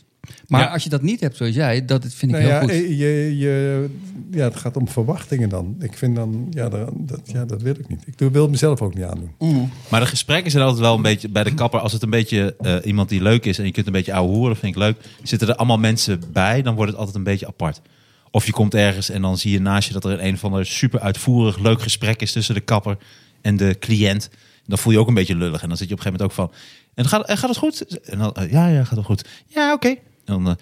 S5: Maar
S4: Ja.
S5: als je dat niet hebt zoals jij, dat dat vind ik
S3: Nou
S5: heel
S3: ja,
S5: goed.
S3: eh, je, je, ja, het gaat om verwachtingen dan. Ik vind dan, ja, daar- dat, ja, dat wil ik niet. Ik doe, wil het mezelf ook niet aandoen.
S4: Maar de gesprekken zijn altijd wel een beetje bij de kapper. Als het een beetje eh, iemand die leuk is en je kunt een beetje ouwe hoeren, vind ik leuk. Zitten er allemaal mensen bij, dan wordt het altijd een beetje apart. Of je komt ergens en dan zie je naast je dat er een of ander super uitvoerig leuk gesprek is tussen de kapper en de cliënt. Dan voel je je ook een beetje lullig. En dan zit je op een gegeven moment ook van. En gaat, eh, gaat het goed? En dan, eh, ja, ja, gaat het goed. Ja, oké. En dan, eh,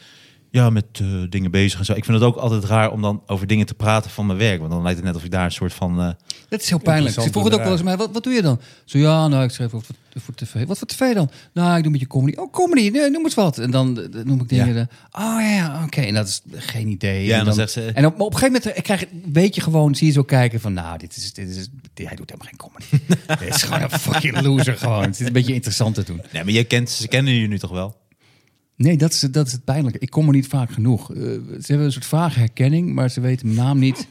S4: ja, met eh, dingen bezig en zo. Ik vind het ook altijd raar om dan over dingen te praten van mijn werk. Want dan lijkt het net of ik daar een soort van. eh,
S5: Dat is heel pijnlijk. Ze vroegen het ook wel eens aan mij, wat, wat doe je dan? Zo, ja, nou, ik schrijf ook voor, voor tv. Wat voor tv dan? Nou, ik doe een beetje comedy. Oh, comedy, nee, noem eens wat. En dan eh, noem ik
S4: Ja.
S5: dingen. eh, oh ja, ja, oké. En dat is geen idee.
S4: Ja, en dan zegt ze-
S5: En op, maar op een gegeven moment eh, krijg, je- weet je gewoon, zie je zo kijken van... Nou, dit is, dit is, dit- hij doet helemaal geen comedy. Dit is gewoon een fucking loser gewoon. Het is een beetje interessant te doen.
S4: Nee, maar jij kent, ze kennen je nu toch wel?
S5: Nee, dat is, dat is het pijnlijke. Ik kom er niet vaak genoeg. Eh, ze hebben een soort vage herkenning, maar ze weten mijn naam niet.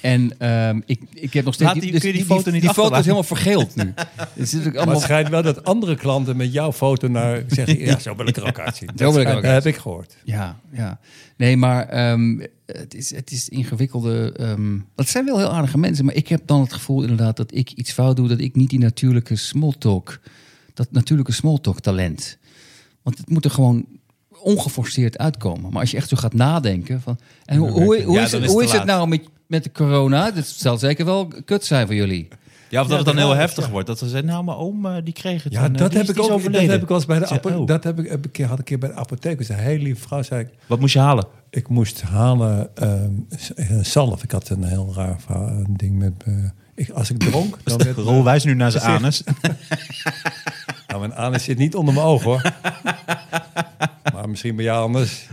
S5: En ehm, ik, ik heb nog steeds...
S4: Laat die- kun je die foto niet
S5: Die foto is
S4: achterlaten?
S5: helemaal vergeeld nu. Het zit ook
S3: Maar het
S5: allemaal...
S3: schijnt wel dat andere klanten met jouw foto naar zeggen... ja, zo wil ik er ook uitzien.
S5: wil ik er ook
S3: schijnt- dat heb ik gehoord.
S5: Ja, ja. Nee, maar ehm, het, is, het is ingewikkelde... ehm dat zijn wel heel aardige mensen, maar ik heb dan het gevoel inderdaad... dat ik iets fout doe, dat ik niet die natuurlijke smalltalk... dat natuurlijke smalltalk talent... Want het moet er gewoon ongeforceerd uitkomen. Maar als je echt zo gaat nadenken van... En hoe, hoe, hoe
S4: Ja,
S5: is,
S4: dan
S5: het,
S4: is het
S5: hoe
S4: te
S5: is het
S4: laat.
S5: nou met, met de corona? Dat zal zeker wel kut zijn voor jullie.
S4: Ja, of dat het dan heel
S3: dat-
S4: heftig wordt. Dat ze zeggen, nou, mijn oom eh, die kreeg het.
S3: Ja,
S4: en, eh,
S3: dat
S4: die is-
S3: heb, ik
S4: die is
S3: ook, dat
S4: overleden.
S3: heb ik wel eens bij de
S4: Ik zei,
S3: apotheek.
S4: oh,
S3: Dat heb ik, heb ik, een keer- had ik een keer bij de apotheek. Dus een hele lieve vrouw zei ik...
S4: Wat moest je halen?
S3: Ik moest halen ehm, s- eh, zalf. Ik had een heel raar verhaal- een ding met... eh, ik, als ik dronk, dan werd eh,
S4: Rol wijst nu naar zijn anus.
S3: Nou, mijn anus zit niet onder mijn oog, hoor. maar misschien bij jou anders.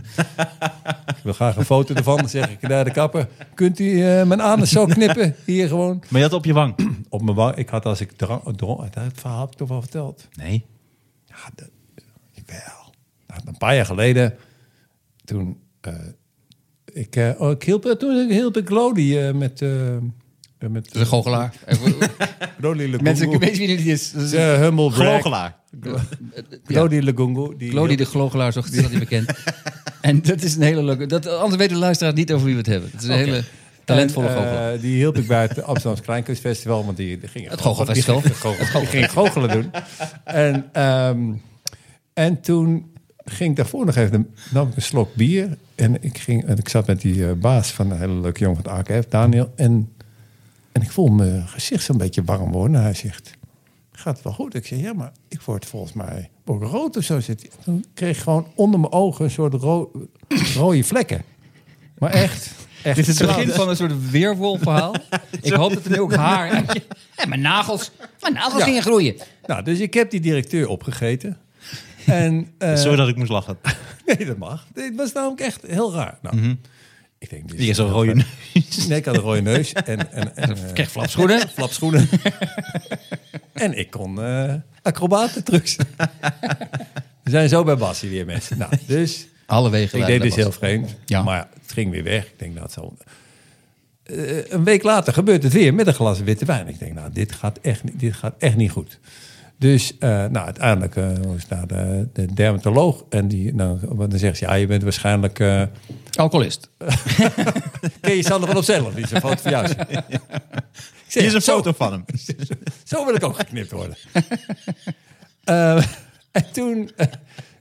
S3: Ik wil graag een foto ervan, dan zeg ik naar de kapper. Kunt u eh, mijn anus zo knippen? Hier gewoon.
S4: Maar je had op je wang.
S3: Op mijn wang. Ik had als ik drank... dronk dat verhaal heb ik toch wel verteld.
S4: Nee.
S3: Ja, dat, jawel. Nou, een paar jaar geleden, toen... eh, ik, eh, oh, ik hielp, toen hielp ik Lodi eh, met... eh, eh, met
S5: Dat is een goochelaar. Even-
S3: Lodi Le
S5: mensen
S3: Gungu.
S5: weten wie dit is. Dat is-
S3: De eh, humble brag.
S4: Glogelaar.
S5: Ja.
S3: Lodi Le Gungu, Die
S5: Lodi de Glogelaar, zo is dat hij bekend. en dat is een hele leuke... Dat, anders weet de luisteraar niet over wie we het hebben. Het is een hele talentvolle
S3: En, eh,
S5: goochelaar.
S3: die hielp ik bij het Amsterdamse Kleinkunstfestival, want die, die ging
S5: Het goochelfestival.
S3: Die ging, die ging goochelen doen. En, ehm, en toen ging ik daarvoor nog even een- nam ik een slok bier en ik ging en ik zat met die eh, baas van een hele leuke jongen van het AKF, Daniel, en en ik voel mijn gezicht zo'n beetje warm worden. En Hij zegt, gaat wel goed? Ik zeg, ja, maar ik word volgens mij ook rood of zo. Zit. hij. Toen kreeg ik gewoon onder mijn ogen een soort ro- rode vlekken. Maar echt. echt
S5: Dit is het
S3: trouwens.
S5: begin van een soort weerwolfverhaal. Ik hoop dat er nu ook haar uit je- En mijn nagels, mijn nagels
S3: Ja.
S5: gingen groeien.
S3: Nou, dus ik heb die directeur opgegeten. En, eh,
S4: Sorry dat ik moest lachen.
S3: Nee, dat mag. Dit was namelijk echt heel raar. Nou, ik denk, dit
S4: Mhm. Die is een rode neus.
S3: Nee, ik had een rode neus en, en, en eh,
S5: Ik kreeg flapschoenen.
S3: flapschoenen. en ik kon eh acrobaten trucs. We zijn zo bij Bassie weer, mensen. Nou, dus
S5: Alle wegen
S3: ik
S5: leiden
S3: deed dit
S5: naar
S3: heel vreemd.
S5: Ja.
S3: Maar het ging weer weg. Ik denk, nou, het zal... Eh, een week later gebeurt het weer met een glas witte wijn. Ik denk, nou, dit gaat echt, niet- dit gaat echt niet goed. Dus eh, nou, uiteindelijk eh, was naar de, de dermatoloog. En die, nou, dan zegt ze, ja, je bent waarschijnlijk... eh,
S5: Bas. Alcoholist.
S3: Ken je Sander van Opzellig? Die is een foto van jou. Ik zeg,
S4: Hier is een
S3: zo-
S4: foto van hem.
S3: Zo wil ik ook geknipt worden. Eh, en toen eh,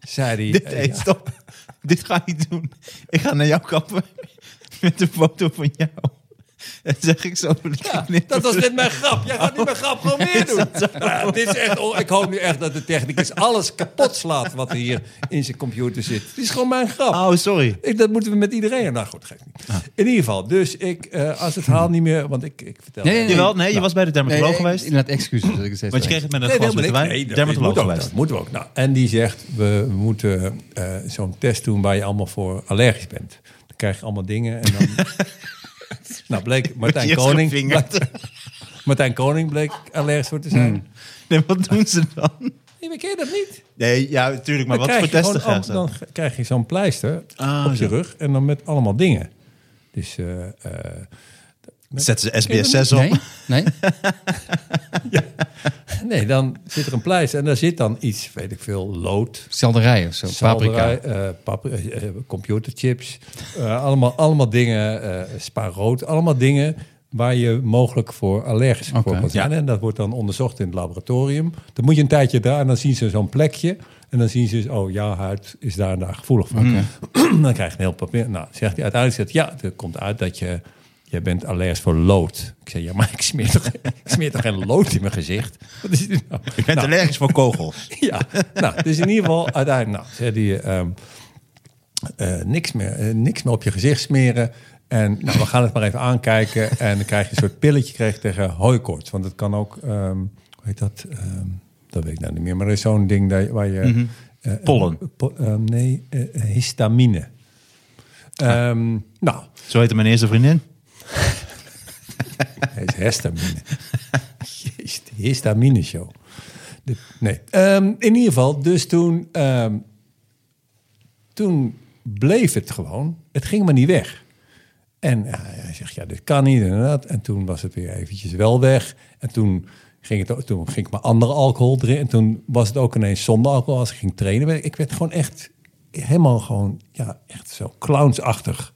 S3: zei hij...
S4: Dit,
S3: eh,
S4: hey,
S3: ja.
S4: stop. Dit ga ik niet doen. Ik ga naar jou kappen met een foto van jou. En zeg ik zo. met die knip-
S3: Dat was net mijn grap. Jij gaat nu mijn grap gewoon weer doen. Maar dit is echt, on- ik hoop nu echt dat de technicus alles kapot slaat wat er hier in zijn computer zit. Het is gewoon mijn grap.
S4: Oh, sorry.
S3: Ik, dat moeten we met iedereen. Nou goed, geeft
S4: Ah.
S3: niet. In ieder geval, dus ik, eh, als het haal niet meer, want ik, ik vertel.
S5: Nee, nee, nee.
S4: Jawel, nee,
S3: Nou.
S4: je was bij de dermatoloog geweest.
S5: Inderdaad, excuses dat ik het steeds
S4: Want je
S5: weet.
S4: kreeg het met een glas
S3: helemaal
S4: witte
S3: niks.
S4: wijn.
S3: Nee, dat
S4: dermatoloog
S3: moet ook,
S4: geweest.
S3: Dat moeten we ook. Nou, en die zegt, we moeten eh, zo'n test doen waar je allemaal voor allergisch bent. Dan krijg je allemaal dingen en dan... nou, bleek Martijn
S4: je eerst
S3: Koning...
S4: gevingerd.
S3: Martijn Koning bleek allergisch voor te zijn.
S4: Hmm. Nee, wat doen ze dan?
S3: Nee, maar ken je dat niet?
S4: Nee, ja, natuurlijk. Maar
S3: Dan
S4: wat voor
S3: krijg je
S4: testen
S3: gewoon
S4: gaan
S3: ook-
S4: ze?
S3: Dan g- krijg je zo'n pleister
S4: Ah,
S3: op je
S4: zo.
S3: rug en dan met allemaal dingen. Dus... eh, eh,
S4: Zetten ze
S3: Ken je dat
S4: SBS6 op?
S5: Nee, nee.
S3: nee, dan zit er een pleister en daar zit dan iets, weet ik veel, lood,
S5: Selderij of zo, paprika.
S3: Selderij, eh, papri- eh, eh, computerchips. eh, allemaal, allemaal dingen, eh spa rood. Allemaal dingen waar je mogelijk voor allergisch voor kan zijn. En dat wordt dan onderzocht in het laboratorium. Dan moet je een tijdje daar en dan zien ze zo'n plekje. En dan zien ze, dus, oh, jouw huid is daar en daar gevoelig voor.
S4: Mm.
S3: dan krijg je een heel papier. Nou, zegt hij uiteindelijk, zegt, hij, ja, het komt uit dat je... Jij bent allergisch voor lood. Ik zei, ja, maar ik smeer toch, ik smeer toch geen lood in mijn gezicht? Wat is dit nou?
S4: Je bent allergisch voor kogels.
S3: ja, nou, dus in ieder geval uiteindelijk, nou, zei die ehm, eh, niks, meer, eh, niks meer op je gezicht smeren. En nou, we gaan het maar even aankijken. En dan krijg je een soort pilletje kreeg tegen hooikoorts. Want het kan ook, ehm, hoe heet dat? Ehm, dat weet ik nou niet meer. Maar er is zo'n ding dat, je- waar je... eh,
S4: Pollen.
S3: eh, po- eh, nee, eh, histamine. Ehm, nou,
S4: Zo heette mijn eerste vriendin.
S3: hij is histamine. Jezus, de histamine show. De- nee. Ehm, in ieder geval, dus toen, ehm, toen bleef het gewoon. Het ging maar niet weg. En eh, hij zegt, ja, dit kan niet inderdaad. En toen was het weer eventjes wel weg. En toen ging, het, ook- toen ging ik maar andere alcohol drinken. En toen was het ook ineens zonder alcohol als ik ging trainen. werd- Ik werd gewoon echt helemaal gewoon, ja, echt zo clownsachtig.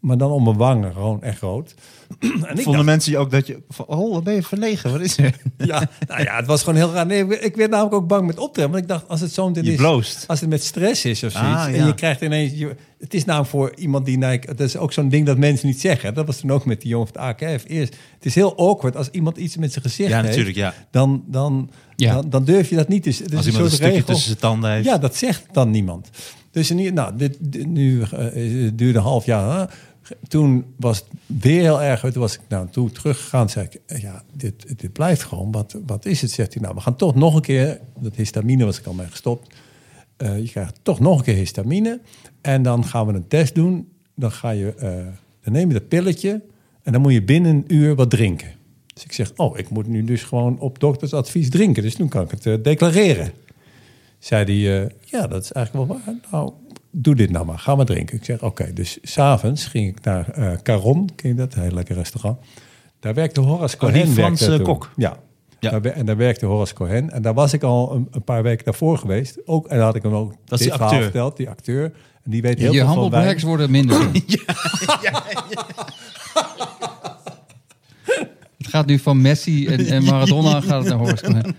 S3: Maar dan om mijn wangen gewoon echt rood. En ik dacht-
S4: Vonden mensen je ook dat je... van, Oh, wat ben je verlegen? Wat is er?
S3: ja, nou ja, het was gewoon heel raar. Nee, ik werd namelijk ook bang met optreden. Want ik dacht, als het zo'n ding
S4: Je
S3: is...
S4: bloost.
S3: Als het met stress is of zoiets.
S4: Ah, ja.
S3: En je krijgt ineens... je- het is namelijk voor iemand die... Nou, ik- dat is ook zo'n ding dat mensen niet zeggen. Dat was toen ook met die jongen van de AKF. Eerst, het is heel awkward als iemand iets met zijn gezicht
S4: Ja,
S3: heeft.
S4: natuurlijk, ja.
S3: Dan, dan,
S5: Ja.
S3: dan, dan durf je dat niet. Dus, het is
S4: Als iemand een
S3: soort
S4: stukje
S3: regel.
S4: tussen zijn tanden heeft.
S3: Ja, dat zegt dan niemand. Dus in ieder- nou, dit, dit- nu eh, het duurde een half jaar. hè. Toen was het weer heel erg. Toen was ik nou, toen teruggegaan. zei ik, eh, ja, dit, dit blijft gewoon. Wat, wat is het? Zegt hij, nou, we gaan toch nog een keer... Dat histamine was ik al mee gestopt. Eh, je krijgt toch nog een keer histamine. En dan gaan we een test doen. Dan, ga je, eh, dan neem je dat pilletje. En dan moet je binnen een uur wat drinken. Dus ik zeg, oh, ik moet nu dus gewoon op doktersadvies drinken. Dus toen kan ik het eh, declareren zei hij, eh, ja, dat is eigenlijk wel waar. Nou, doe dit nou maar. Ga maar drinken. Ik zeg, oké. Dus s'avonds ging ik naar eh, Caron. Ken je dat? Een heel lekker restaurant. Daar werkte Horace
S4: Oh, die
S3: Cohen. werkte
S4: Franse
S3: daar toen.
S4: kok.
S3: Ja.
S4: Ja.
S3: Daar, wer- en daar werkte Horace Cohen. En daar was ik al een, een paar weken daarvoor geweest. Ook, en daar had ik hem ook
S4: is
S3: dit
S4: die
S3: verhaal
S4: acteur.
S3: verteld. Die acteur. En die weet heel
S5: Je
S3: veel van wijn.
S5: handelbereiks worden minder. Het gaat nu van Messi en, en Maradona gaat het naar Horst. Cohen.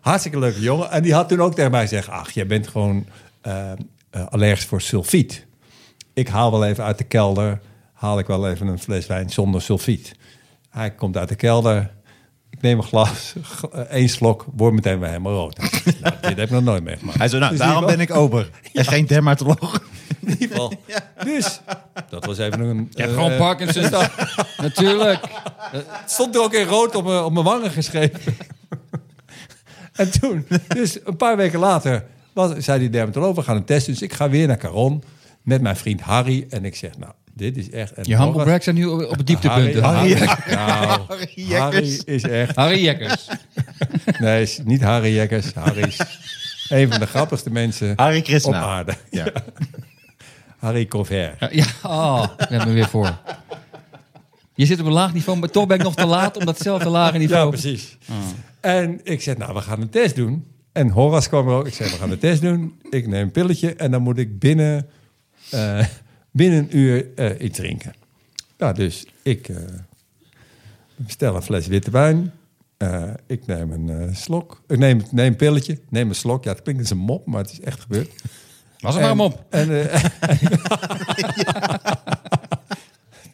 S3: Hartstikke leuke jongen. En die had toen ook tegen mij gezegd... ach, jij bent gewoon eh, eh, allergisch voor sulfiet. Ik haal wel even uit de kelder... haal ik wel even een fles wijn zonder sulfiet. Hij komt uit de kelder... ik neem een glas, g- eh, één slok... word meteen weer helemaal rood. nou, dit heb ik nog nooit meegemaakt.
S4: Hij zo, nou,
S3: Dus in
S4: daarom
S3: ieder
S4: ben ik ober. En geen dermatoloog.
S3: geval- in ieder geval. Dus, dat was even een... eh,
S5: Je hebt gewoon Parkinson. Natuurlijk.
S3: stond er ook in rood op mijn, op mijn wangen geschreven. en toen, dus een paar weken later, was, zei die dermatoloog, we gaan een test doen. Dus ik ga weer naar Caron met mijn vriend Harry. En ik zeg, nou, dit is echt... En
S5: Je handelbereiks zijn nu op, op het
S3: Harry,
S5: dieptepunt. Harry,
S3: Harry,
S5: Harry,
S3: nou, Harry is echt...
S5: Jekkers.
S3: Nee, is niet Harry Jekkers. Harry is een van de grappigste mensen
S4: Harry Krishna.
S3: op aarde.
S4: Ja.
S3: Harry Cover.
S5: Ja, oh, ik ben er weer voor. Je zit op een laag niveau, maar toch ben ik nog te laat om datzelfde lage
S3: Ja,
S5: niveau.
S3: precies. Ah. En ik zeg, nou, we gaan een test doen. En Horace kwam er ook. Ik zei, we gaan een test doen. Ik neem een pilletje en dan moet ik binnen, eh, binnen een uur eh, iets drinken. Nou, dus ik eh, bestel een fles witte wijn. Eh, ik neem een eh, slok. Ik neem, neem een pilletje, neem een slok. Ja, het klinkt als een mop, maar het is echt gebeurd. eh,
S5: Was het maar hem
S3: En-
S5: op.
S3: En, eh,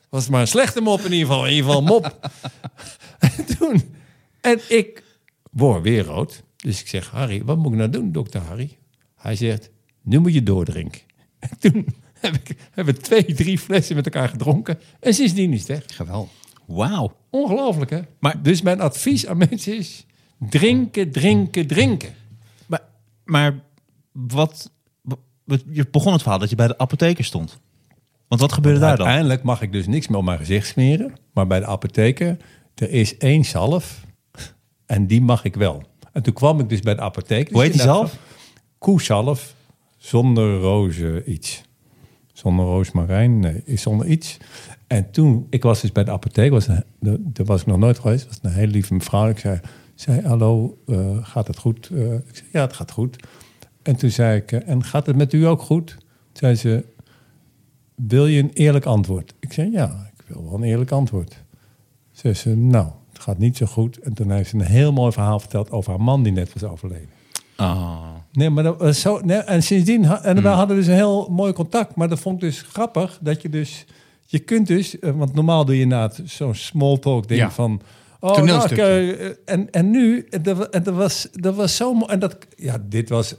S3: was het maar een slechte mop in ieder geval. In ieder geval een mop. en toen... En ik word weer rood. Dus ik zeg, Harry, wat moet ik nou doen, dokter Harry? Hij zegt, nu moet je doordrinken. En toen heb ik, hebben we twee, drie flessen met elkaar gedronken. En sindsdien is het echt.
S5: Geweld.
S4: Wauw.
S3: Ongelooflijk, hè?
S4: Maar-
S3: dus mijn advies aan mensen is... drinken, drinken, drinken.
S4: Maar, maar wat, wat- Je begon het verhaal dat je bij de apotheker stond. Want wat gebeurde daar dan?
S3: Uiteindelijk mag ik dus niks meer op mijn gezicht smeren. Maar bij de apotheker, er is één zalf. En die mag ik wel. En toen kwam ik dus bij de apotheker.
S4: Hoe heet die
S3: Dus inderdaad,
S4: zalf?
S3: Koezalf. Zonder roze iets. Zonder roosmarijn, nee, is zonder iets. En toen, ik was dus bij de apotheek, was een, daar- daar was ik nog nooit geweest. was een hele lieve mevrouw. Ik zei, zei hallo, eh, gaat het goed? Eh, ik zei, ja, het gaat goed. En toen zei ik, eh, en gaat het met u ook goed? Toen zei ze, wil je een eerlijk antwoord? Ik zei, ja, ik wil wel een eerlijk antwoord. Ze zei, nou, het gaat niet zo goed. En toen heeft ze een heel mooi verhaal verteld over haar man die net was overleden.
S5: Ah.
S4: Oh.
S3: Nee, maar dat was zo. Nee, en sindsdien ha-
S5: Hmm.
S3: en we hadden we dus een heel mooi contact. Maar dat vond ik dus grappig dat je dus. Je kunt dus, eh, want normaal doe je na het- zo'n small talk ding
S5: Ja.
S3: van. Oh, nou, ik,
S5: Toneelstukje.
S3: eh, eh, en, en nu, eh, dat, wa- en dat was, dat was zo mooi. En dat, ja, dit was,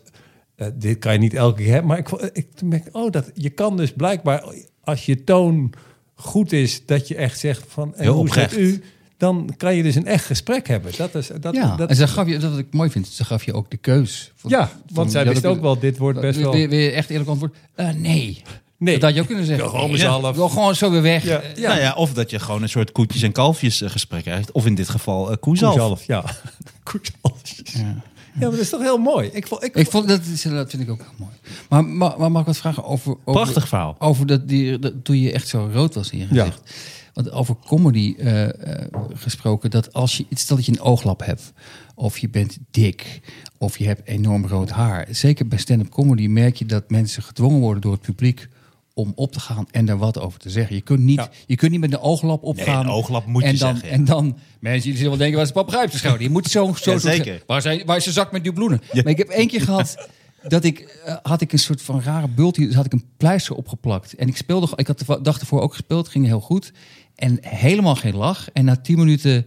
S3: eh, dit kan je niet elke keer hebben. Maar ik, vo- ik toen merkte, oh, dat, je kan dus blijkbaar, als je toon goed is, dat je echt zegt van, en
S4: Heel
S3: hoe zit
S4: oprecht.
S3: u? Dan kan je dus een echt gesprek hebben. Dat is, dat,
S5: ja,
S3: dat,
S5: en ze gaf je, dat wat ik mooi vind, ze gaf je ook de keus. Van-
S3: ja
S5: van-
S3: want zij
S5: je had
S3: wist ook wel, dit wordt best
S5: weer,
S3: wel...
S5: Weer, weer echt eerlijk antwoord. Eh, nee.
S3: Nee.
S5: Dat had je ook kunnen zeggen.
S3: Ja, gewoon
S5: Nee.
S3: mezelf.
S5: Wel gewoon zo weer weg.
S3: Ja.
S5: Eh,
S4: Ja. Nou ja, of dat je gewoon een soort koetjes en kalfjes eh, gesprek krijgt. Of in dit geval eh, koezalf.
S3: Koezalf, ja. Koezalf. Ja. maar dat is toch heel mooi. Ik vond, ik,
S5: Ik vond dat, is- dat vind ik ook heel mooi. Maar, maar, maar mag ik wat vragen over. over
S4: Prachtig verhaal.
S5: Over dat, die, dat- toen je echt zo rood was in je gezicht. Want over comedy eh, eh, gesproken, dat als je. Stel dat je een ooglap hebt, of je bent dik, of je hebt enorm rood haar. Zeker bij stand-up comedy merk je dat mensen gedwongen worden door het publiek om op te gaan en daar wat over te zeggen. Je kunt niet,
S3: Ja.
S5: je kunt niet met een ooglap opgaan.
S4: een ooglap moet je
S5: en dan,
S4: zeggen, ja.
S5: En dan, mensen, jullie zullen wel denken, waar is de papegaaip te schouder? Je moet zo, zo, zo
S4: zeker.
S5: zeggen. Waar, zijn, waar is de zak met dubloenen? Maar ik heb één keer gehad dat ik eh, had ik een soort van rare bult hier, dus had ik een pleister opgeplakt. En ik speelde, ik had de dag ervoor ook gespeeld, ging heel goed en helemaal geen lach. En na tien minuten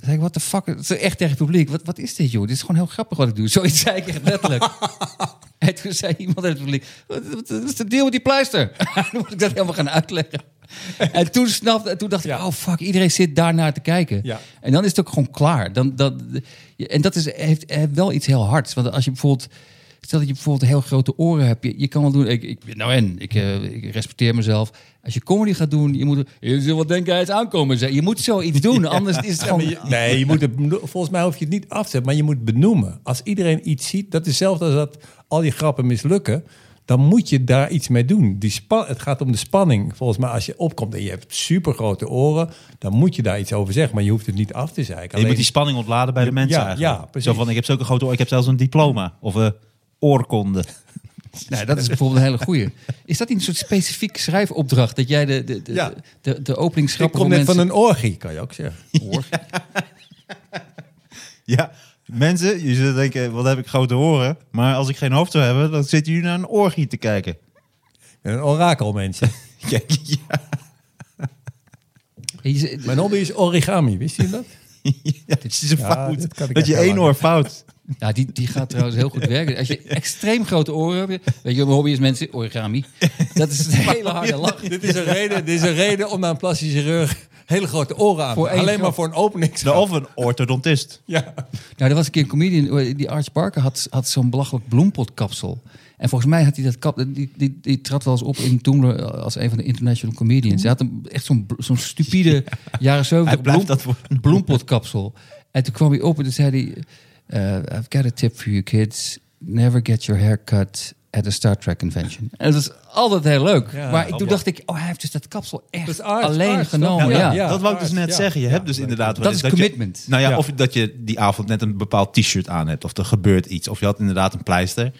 S5: zei ik, wat de fuck, het is echt tegen het publiek. Wat, wat is dit joh? Dit is gewoon heel grappig wat ik doe. Zoiets zei ik echt letterlijk. en toen zei iemand uit het publiek, wat, wat- wat is de deal met die pleister? dan moet ik dat helemaal gaan uitleggen. En toen snapte, en toen dacht ik,
S3: Ja.
S5: oh fuck, iedereen zit daarnaar te kijken.
S3: Ja.
S5: En dan is het ook gewoon klaar. Dan, dat, en dat is, heeft, heeft wel iets heel hards. Want als je bijvoorbeeld. Stel dat je bijvoorbeeld heel grote oren hebt. Je, je kan wel doen. Ik, ik, nou en, ik, eh, ik respecteer mezelf. Als je comedy gaat doen, je moet. Je zult wel denken, hij is aankomen. Zeg. Je moet zoiets doen. Anders is het gewoon.
S3: nee, je moet het, beno- volgens mij hoef je het niet af te zetten, maar je moet benoemen. Als iedereen iets ziet, dat is hetzelfde als dat al die grappen mislukken. Dan moet je daar iets mee doen. Die spa- het gaat om de spanning. Volgens mij, als je opkomt en je hebt supergrote oren, dan moet je daar iets over zeggen. Maar je hoeft het niet af te zeiken.
S4: En je moet
S3: Alleen-
S4: die spanning ontladen bij de mensen
S3: ja,
S4: eigenlijk.
S3: ja, precies.
S4: Zo van, ik heb zulke grote oor, ik heb zelfs een diploma. Of een oorkonde.
S3: Dus-
S5: Nou, dat is bijvoorbeeld een hele goeie. Is dat niet een soort specifiek schrijfopdracht? Dat jij de, de, de,
S3: Ja.
S5: de, de,
S3: Ik
S5: openingsgrappen
S3: kom
S5: voor
S3: net van
S5: mensen-
S3: een orgie, kan je ook zeggen.
S4: Ja, mensen, je zullen denken, wat heb ik grote oren. Maar als ik geen hoofd zou hebben, dan zitten jullie naar een orgie te kijken.
S3: Een orakel, mensen.
S4: Ja, ja.
S5: Je zegt-
S3: Mijn hobby is origami, wist je dat?
S4: Het is een
S3: Ja,
S4: fout.
S3: dit kan ik
S4: dat je
S3: echt wel
S4: één oor fout.
S5: Nou, die, die gaat trouwens heel goed werken. Als je extreem grote oren hebt, weet je wat mijn hobby is mensen? Origami. Dat is een hele harde lach.
S3: Dit is, een reden, dit is een reden om naar een plastische chirurg hele grote oren aan te
S5: Voor
S3: doen.
S5: één
S3: Alleen maar
S5: grap.
S3: voor een opening.
S4: Nou, Of een orthodontist.
S3: Ja.
S5: Nou, er was een keer een comedian, eh, die Arch Barker had, had zo'n belachelijk bloempotkapsel. En volgens mij had hij dat kap, die, die, die trad wel eens op in Toemler als een van de international comedians. Hij had een, echt zo'n bl- zo'n stupide jaren
S4: Hij
S5: 70
S4: blijft
S5: bloem-
S4: dat woord
S5: bloempotkapsel. En toen kwam hij op en toen zei hij, eh, I've got a tip for you kids. Never get your hair cut at a Star Trek convention. En dat is altijd heel leuk. maar ik, toen dacht ik, oh, hij heeft dus dat kapsel
S3: Dat is
S5: echt
S3: Arch,
S5: alleen
S3: Arch, toch?
S5: genomen.
S3: Ja,
S5: Oh, Ja,
S3: ja.
S4: dat wou ik dus
S3: aard,
S4: net
S3: ja.
S4: zeggen. Je
S3: Ja,
S4: hebt dus
S3: leuk.
S4: inderdaad wel
S5: Dat
S4: eens
S5: is
S4: je-
S5: commitment.
S4: nou ja,
S3: Ja.
S4: of dat je die avond net een bepaald t-shirt aan hebt. Of er gebeurt iets. Of je had inderdaad een pleister.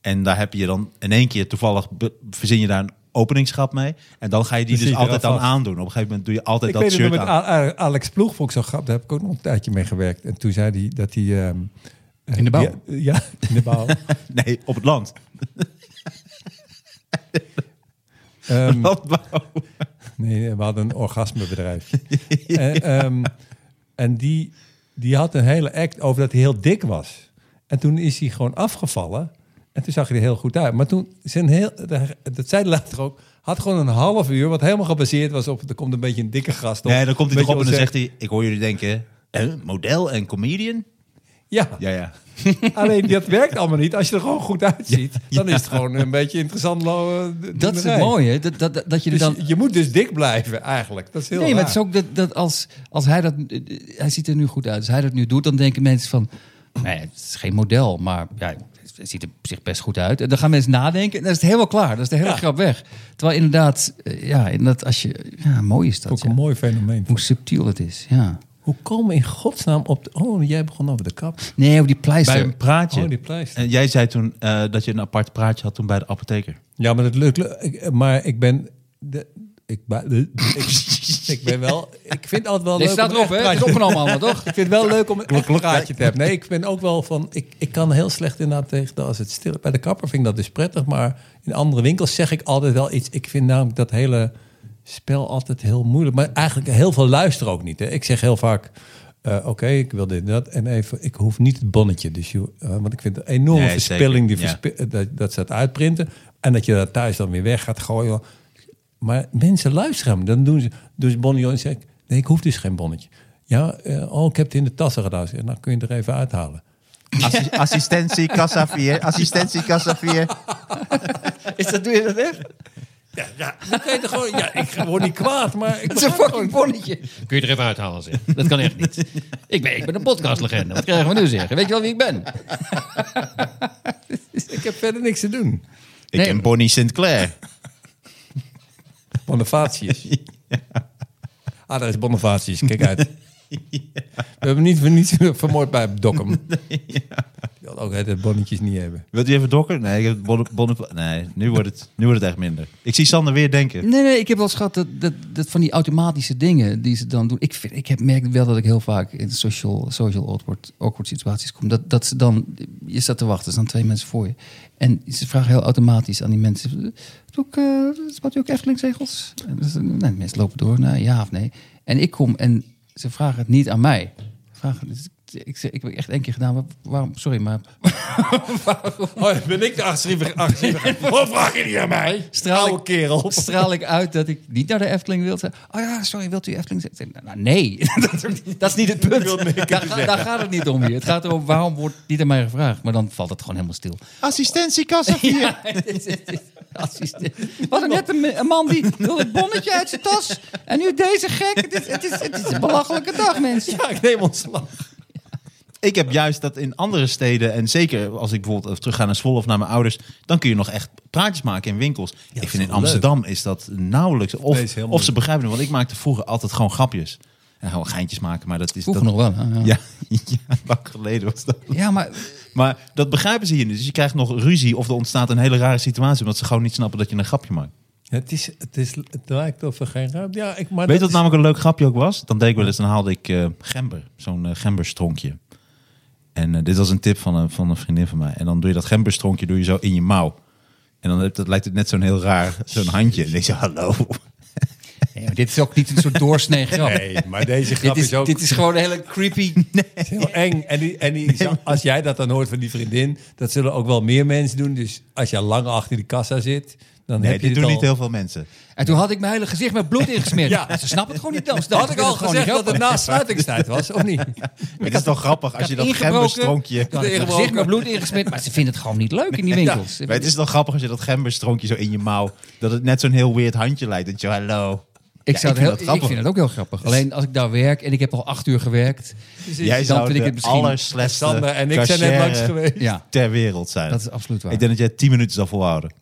S4: En daar heb je dan in één keer toevallig be- verzin je daar een openingsschap mee. En dan ga je die
S3: Dan
S4: dus,
S3: zie je
S4: altijd
S3: eraf
S4: dan
S3: af.
S4: aandoen. Op een gegeven moment doe je altijd
S3: Ik
S4: dat
S3: weet het nog
S4: shirt
S3: met
S4: aan.
S3: A- A- Alex Ploeg, vond ik zo grappig. Daar heb ik ook nog een tijdje mee gewerkt. En toen zei hij dat hij... ehm, eh,
S5: In de bouw.
S3: die- ja, in de bouw.
S4: Nee, op het land.
S3: Ehm,
S4: Landbouw.
S3: Nee, we hadden een orgasmebedrijf. en ehm, en die, die had een hele act over dat hij heel dik was. En toen is hij gewoon afgevallen. En toen zag hij er heel goed uit. Maar toen, zijn heel, dat zei hij later ook, had gewoon een half uur, wat helemaal gebaseerd was op, er komt een beetje een dikke gast op.
S4: Nee, dan komt hij
S3: Een
S4: erop en dan
S3: beetje
S4: zegt hij... Ik hoor jullie denken, eh, model en comedian?
S3: Ja,
S4: Ja, ja.
S3: alleen dat werkt allemaal niet. Als je er gewoon goed uitziet, dan is het gewoon een beetje interessant. lo- eh,
S5: Dat is het
S3: doenerij.
S5: mooie, dat, dat, dat je
S3: Dus
S5: er dan...
S3: je, je moet dus dik blijven eigenlijk. Dat is heel
S5: Nee, maar
S3: raar.
S5: het is ook dat, dat als, als hij dat... eh, Hij ziet er nu goed uit. Als hij dat nu doet, dan denken mensen van... Nee, het is geen model, maar ja, hij ziet er op zich best goed uit. En dan gaan mensen nadenken en dan is het helemaal klaar. Dan is de hele grap weg. Terwijl inderdaad, eh, ja, inderdaad als je... Ja, mooi is dat.
S3: ook een
S5: ja.
S3: mooi fenomeen.
S5: Hoe subtiel het is, ja.
S3: Hoe komen we in godsnaam op... de- Oh, jij begon over de kap.
S5: Nee, ook die
S4: Bij
S5: pleister.
S4: een praatje.
S3: Oh, die pleister.
S4: En jij zei toen eh, dat je een apart praatje had toen bij de apotheker.
S3: Ja, maar dat lukt. ik- Maar ik ben... De, ik, ba- de- ik, ik ben wel... Ik vind het altijd wel
S5: Nee,
S3: leuk...
S5: staat
S3: om een
S5: erop, hè?
S3: echt
S5: Het is
S3: praatje-
S5: opgenomen allemaal, toch?
S3: Ik vind het wel leuk om een echt praatje te hebben. Nee, ik ben ook wel van... Ik, ik kan heel slecht inderdaad tegen dat als het stil Bij de kapper vind ik dat dus prettig. Maar in andere winkels zeg ik altijd wel iets. Ik vind namelijk dat hele spel altijd heel moeilijk. Maar eigenlijk heel veel luisteren ook niet. Hè. Ik zeg heel vaak... eh, Oké, ik wil dit en dat. En even, ik hoef niet het bonnetje. Dus je, eh, want ik vind het een enorme
S4: Nee,
S3: verspilling. Die
S4: zeker, ja.
S3: verspi- eh, dat, dat ze het uitprinten. En dat je dat thuis dan weer weg gaat gooien. Maar mensen luisteren hem. Dan doen ze. Dus Bonnie Jones zegt: Nee, ik hoef dus geen bonnetje. Ja, eh, oh, ik heb het in de tassen gedaan. Ik Zeg, nou, kun je het er even uithalen.
S6: Assi- Assistentie, kassa 4. Assistentie, kassa 4.
S5: Is dat, doe je dat echt?
S3: Dan kan je toch gewoon, ja, ik word niet kwaad, maar ik
S5: Dat is een
S3: begrijp
S5: fucking bonnetje.
S7: Kun je er even uithalen, zeg.
S5: Dat kan echt niet. Ik ben, ik ben een podcastlegende. Wat krijgen we nu zeggen? Weet je wel wie ik ben?
S3: het. ik heb verder niks te doen.
S4: Ik
S5: Nee.
S4: ken Bonnie Sinclair.
S3: Bonavatius. Ah, daar is Bonavatius. Kijk uit. We hebben niet, niet vermoord bij Dokkum. Die had ook het bonnetjes niet hebben.
S4: Wilt u even dokken? Nee, ik heb Bonnie- Bonnie- nee nu, wordt het, nu wordt het echt minder. Ik zie Sander weer denken.
S5: Nee, nee, ik heb wel eens gehad dat, dat, dat van die automatische dingen die ze dan doen. Ik, vind, ik heb, merk wel dat ik heel vaak in social, social awkward, awkward situaties kom. Dat, dat ze dan, je staat te wachten, er staan twee mensen voor je. En ze vragen heel automatisch aan die mensen: "Hebt u ook, eh, spat u ook Eftelingzegels? En dan zeggen ze, nee, de mensen lopen door, nou, ja of nee. En ik kom en ze vragen het niet aan mij. Ze Vragen, dus ik, ik, zeg- ik heb echt één keer gedaan, "Waar- waarom, sorry, maar
S3: Oh, ben ik de agressieve? agressieve? Wat vraag je niet aan mij?
S5: Straal ik-
S3: Oude kerel.
S5: straal ik uit dat ik niet naar de Efteling wil. Ze- Oh ja, sorry, wilt u Efteling zeggen? Ik zeg, Nou, nee, dat is, ook niet- dat is niet het punt. Daar, ga- daar gaat het niet om hier. Het gaat erom waarom wordt niet aan mij gevraagd. Maar dan valt het gewoon helemaal stil.
S6: Assistentie, kassa 4.
S5: Ja, het is- het is- assistent. We hadden net een, me- een man die wilde het bonnetje uit zijn tas. En nu deze gek. Het is, het is, het is een belachelijke dag, mensen.
S3: Ja, ik neem ontslag.
S4: Ik heb juist dat in andere steden, en zeker als ik bijvoorbeeld eh, terug ga naar Zwolle of naar mijn ouders, dan kun je nog echt praatjes maken in winkels. ik vind in
S3: wel
S4: Amsterdam is dat nauwelijks. Of,
S3: Nee, is heel
S4: of ze
S3: moeilijk.
S4: begrijpen het, want ik maakte vroeger altijd gewoon grapjes. En gewoon geintjes maken, maar dat is...
S5: Vroeger
S4: dat,
S5: nog wel. hè? Ja.
S4: Ja, ja, lang geleden was dat.
S5: ja, maar
S4: Maar dat begrijpen ze hier niet. Dus je krijgt nog ruzie of er ontstaat een hele rare situatie... omdat ze gewoon niet snappen dat je een grapje maakt.
S3: Het, is, het, is, het lijkt of er geen ruimte... Ja, ik, maar
S4: Weet je
S3: dat
S4: wat namelijk een leuk grapje ook was? Dan deed ik wel eens, dan haalde ik eh, gember. Zo'n eh, gemberstronkje. En eh, dit was een tip van een, van een vriendin van mij. En dan doe je dat gemberstronkje doe je zo in je mouw. En dan heb- dat lijkt het net zo'n heel raar, zo'n handje. En dan denk je, hallo.
S5: nee, maar dit is ook niet een soort doorsnee grap.
S3: nou- Nee, maar deze grap
S5: dit,
S3: is,
S5: is,
S3: ook
S5: dit is gewoon een hele creepy...
S3: is heel eng. En, die, en die, als jij dat dan hoort van die vriendin... dat zullen ook wel meer mensen doen. Dus als je lang achter die kassa zit... dan
S4: Nee,
S3: heb je het
S4: dit doen
S3: al...
S4: niet heel veel mensen.
S5: En toen had ik mijn hele gezicht met bloed ingesmeerd.
S3: Ja.
S5: Ze snappen het gewoon niet. Dan Ze
S3: Had
S5: dachten,
S3: ik al
S5: vind het gewoon
S3: gezegd
S5: niet
S3: dat het na sluitingstijd was, of niet?
S4: Het is toch grappig als je dat gemberstronkje...
S5: Ik had mijn gezicht met bloed ingesmeerd, maar ze vinden het gewoon niet leuk in die winkels.
S4: Maar het is toch grappig als je dat gemberstronkje zo in je mouw... dat het net zo'n heel weird handje lijkt. Dat je, hallo.
S5: ik, zou
S4: ik vind
S5: het heel,
S4: dat
S5: ik
S4: grappig.
S5: vind het ook heel grappig. Alleen als ik daar werk en ik heb al acht uur gewerkt.
S4: Jij
S5: dan
S4: zou
S5: vind
S4: de
S5: ik het misschien-
S4: allerslechtste
S3: Sander en ik zijn net langs
S4: cashier
S3: geweest.
S5: Ja,
S4: ter wereld zijn.
S5: dat is absoluut waar.
S4: Ik denk dat jij 10 minuten zou volhouden.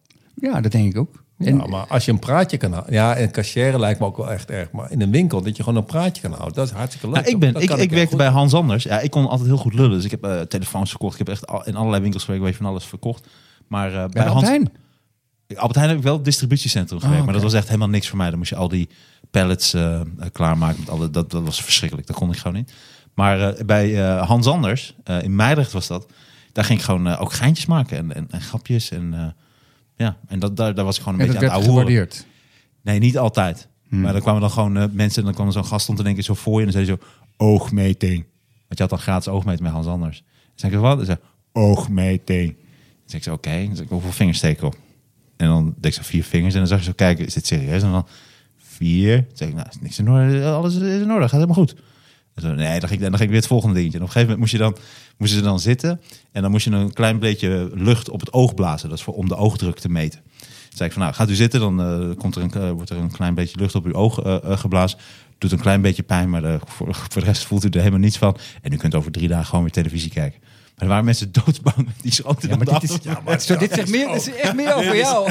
S5: Ja, dat denk ik ook. En,
S3: Ja, maar als je een praatje kan houden... Ja, en cashier lijkt me ook wel echt erg. Maar in een winkel, dat je gewoon een praatje kan houden... dat is hartstikke leuk.
S4: Nou, ik ben,
S3: Dat
S4: ik,
S3: kan
S4: ik
S3: heel
S4: werkte
S3: goed.
S4: bij Hans Anders. Ja, ik kon altijd heel goed lullen. Dus ik heb eh, telefoons verkocht. Ik heb echt al- in allerlei winkels gewerkt. Weet je, van alles verkocht. Maar eh, bij
S5: bij
S4: Hans...
S5: Albert Heijn.
S4: Albert Heijn heb ik wel het distributiecentrum gewerkt. Maar
S5: Oh, oké.
S4: dat was echt helemaal niks voor mij. Dan moest je al die pallets eh, eh, klaarmaken. Met alle, dat, dat was verschrikkelijk. Dat kon ik gewoon niet. Maar eh, bij eh, Hans Anders, eh, in Meidrecht was dat. Daar ging ik gewoon eh, ook geintjes maken. En, en, en grapjes. En, eh, ja. en dat, daar, daar was ik gewoon een
S5: En dat
S4: beetje aan
S5: werd
S4: het ouwe hoeren.
S5: gewaardeerd.
S4: Nee, niet altijd. Maar dan kwamen dan gewoon eh, mensen en dan kwam er zo'n gast stond in één keer zo voor je en dan zei hij zo, oogmeting. Want je had dan gratis oogmeting met Hans Anders. Dan zei ik, wat? Dan zei hij, oogmeting. Dan zei ik zo, oké. Dan zei ik, hoeveel vingers steek ik op? En dan deed ik zo vier vingers en dan zag je zo, kijk, is dit serieus? En dan vier. Toen zei ik, nou, is niks in orde, alles is in orde, gaat helemaal goed. En zo, nee, dan ging, ik, dan ging ik weer het volgende dingetje. En op een gegeven moment moest je dan, moesten ze dan zitten en dan moest je een klein beetje lucht op het oog blazen. Dat is voor, om de oogdruk te meten. Toen zei ik van, nou, gaat u zitten, dan eh, komt er een, eh, wordt er een klein beetje lucht op uw oog eh, eh, geblazen. Doet een klein beetje pijn, maar eh, voor, voor de rest voelt u er helemaal niets van. En u kunt over drie dagen gewoon weer televisie kijken. Maar er waren mensen doodsbang. Die schoten ja,
S3: maar dit is, ja, maar
S5: Zo, dit zegt meer, dit is echt meer over jou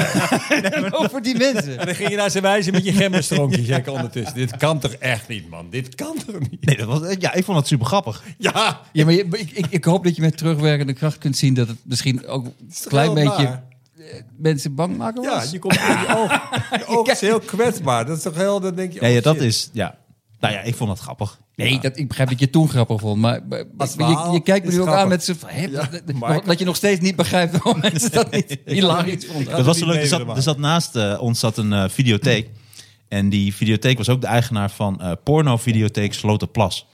S5: dan over die mensen.
S3: En dan ging je naar zijn wijze met je gemmerstronkje zeggen ondertussen. Dit kan toch echt niet, man? Dit kan toch niet?
S4: Nee, dat was, ja, ik vond het super grappig.
S3: Ja,
S5: Ja, maar je- maar ik, ik, ik hoop dat je met terugwerkende kracht kunt zien dat het misschien ook een klein
S3: wel
S5: beetje
S3: waar.
S5: eh, mensen bang maken was.
S3: ja je komt in je ogen. Je oog is heel kwetsbaar. Dat is toch heel, dan denk je...
S4: Ja,
S3: oh,
S4: ja dat
S3: shit.
S4: is, ja. Nou ja, ik vond dat grappig.
S5: Nee, dat, ik begrijp dat je het toen grappig vond. Maar, maar- maar
S3: Als
S5: je,
S3: verhaal
S5: je kijkt me
S3: is
S5: nu ook aan
S3: grappig.
S5: met z'n... van, hè, dat- dat-
S3: maar ik-
S5: dat je nog steeds niet begrijpt waarom mensen dat niet hilarisch vonden.
S4: Dat was zo
S3: niet
S4: leuk. Er
S3: mee
S4: zat,
S3: willen
S4: er zat naast eh, ons zat een eh, videotheek. En die videotheek was ook de eigenaar van eh porno-videotheek Slotenplas.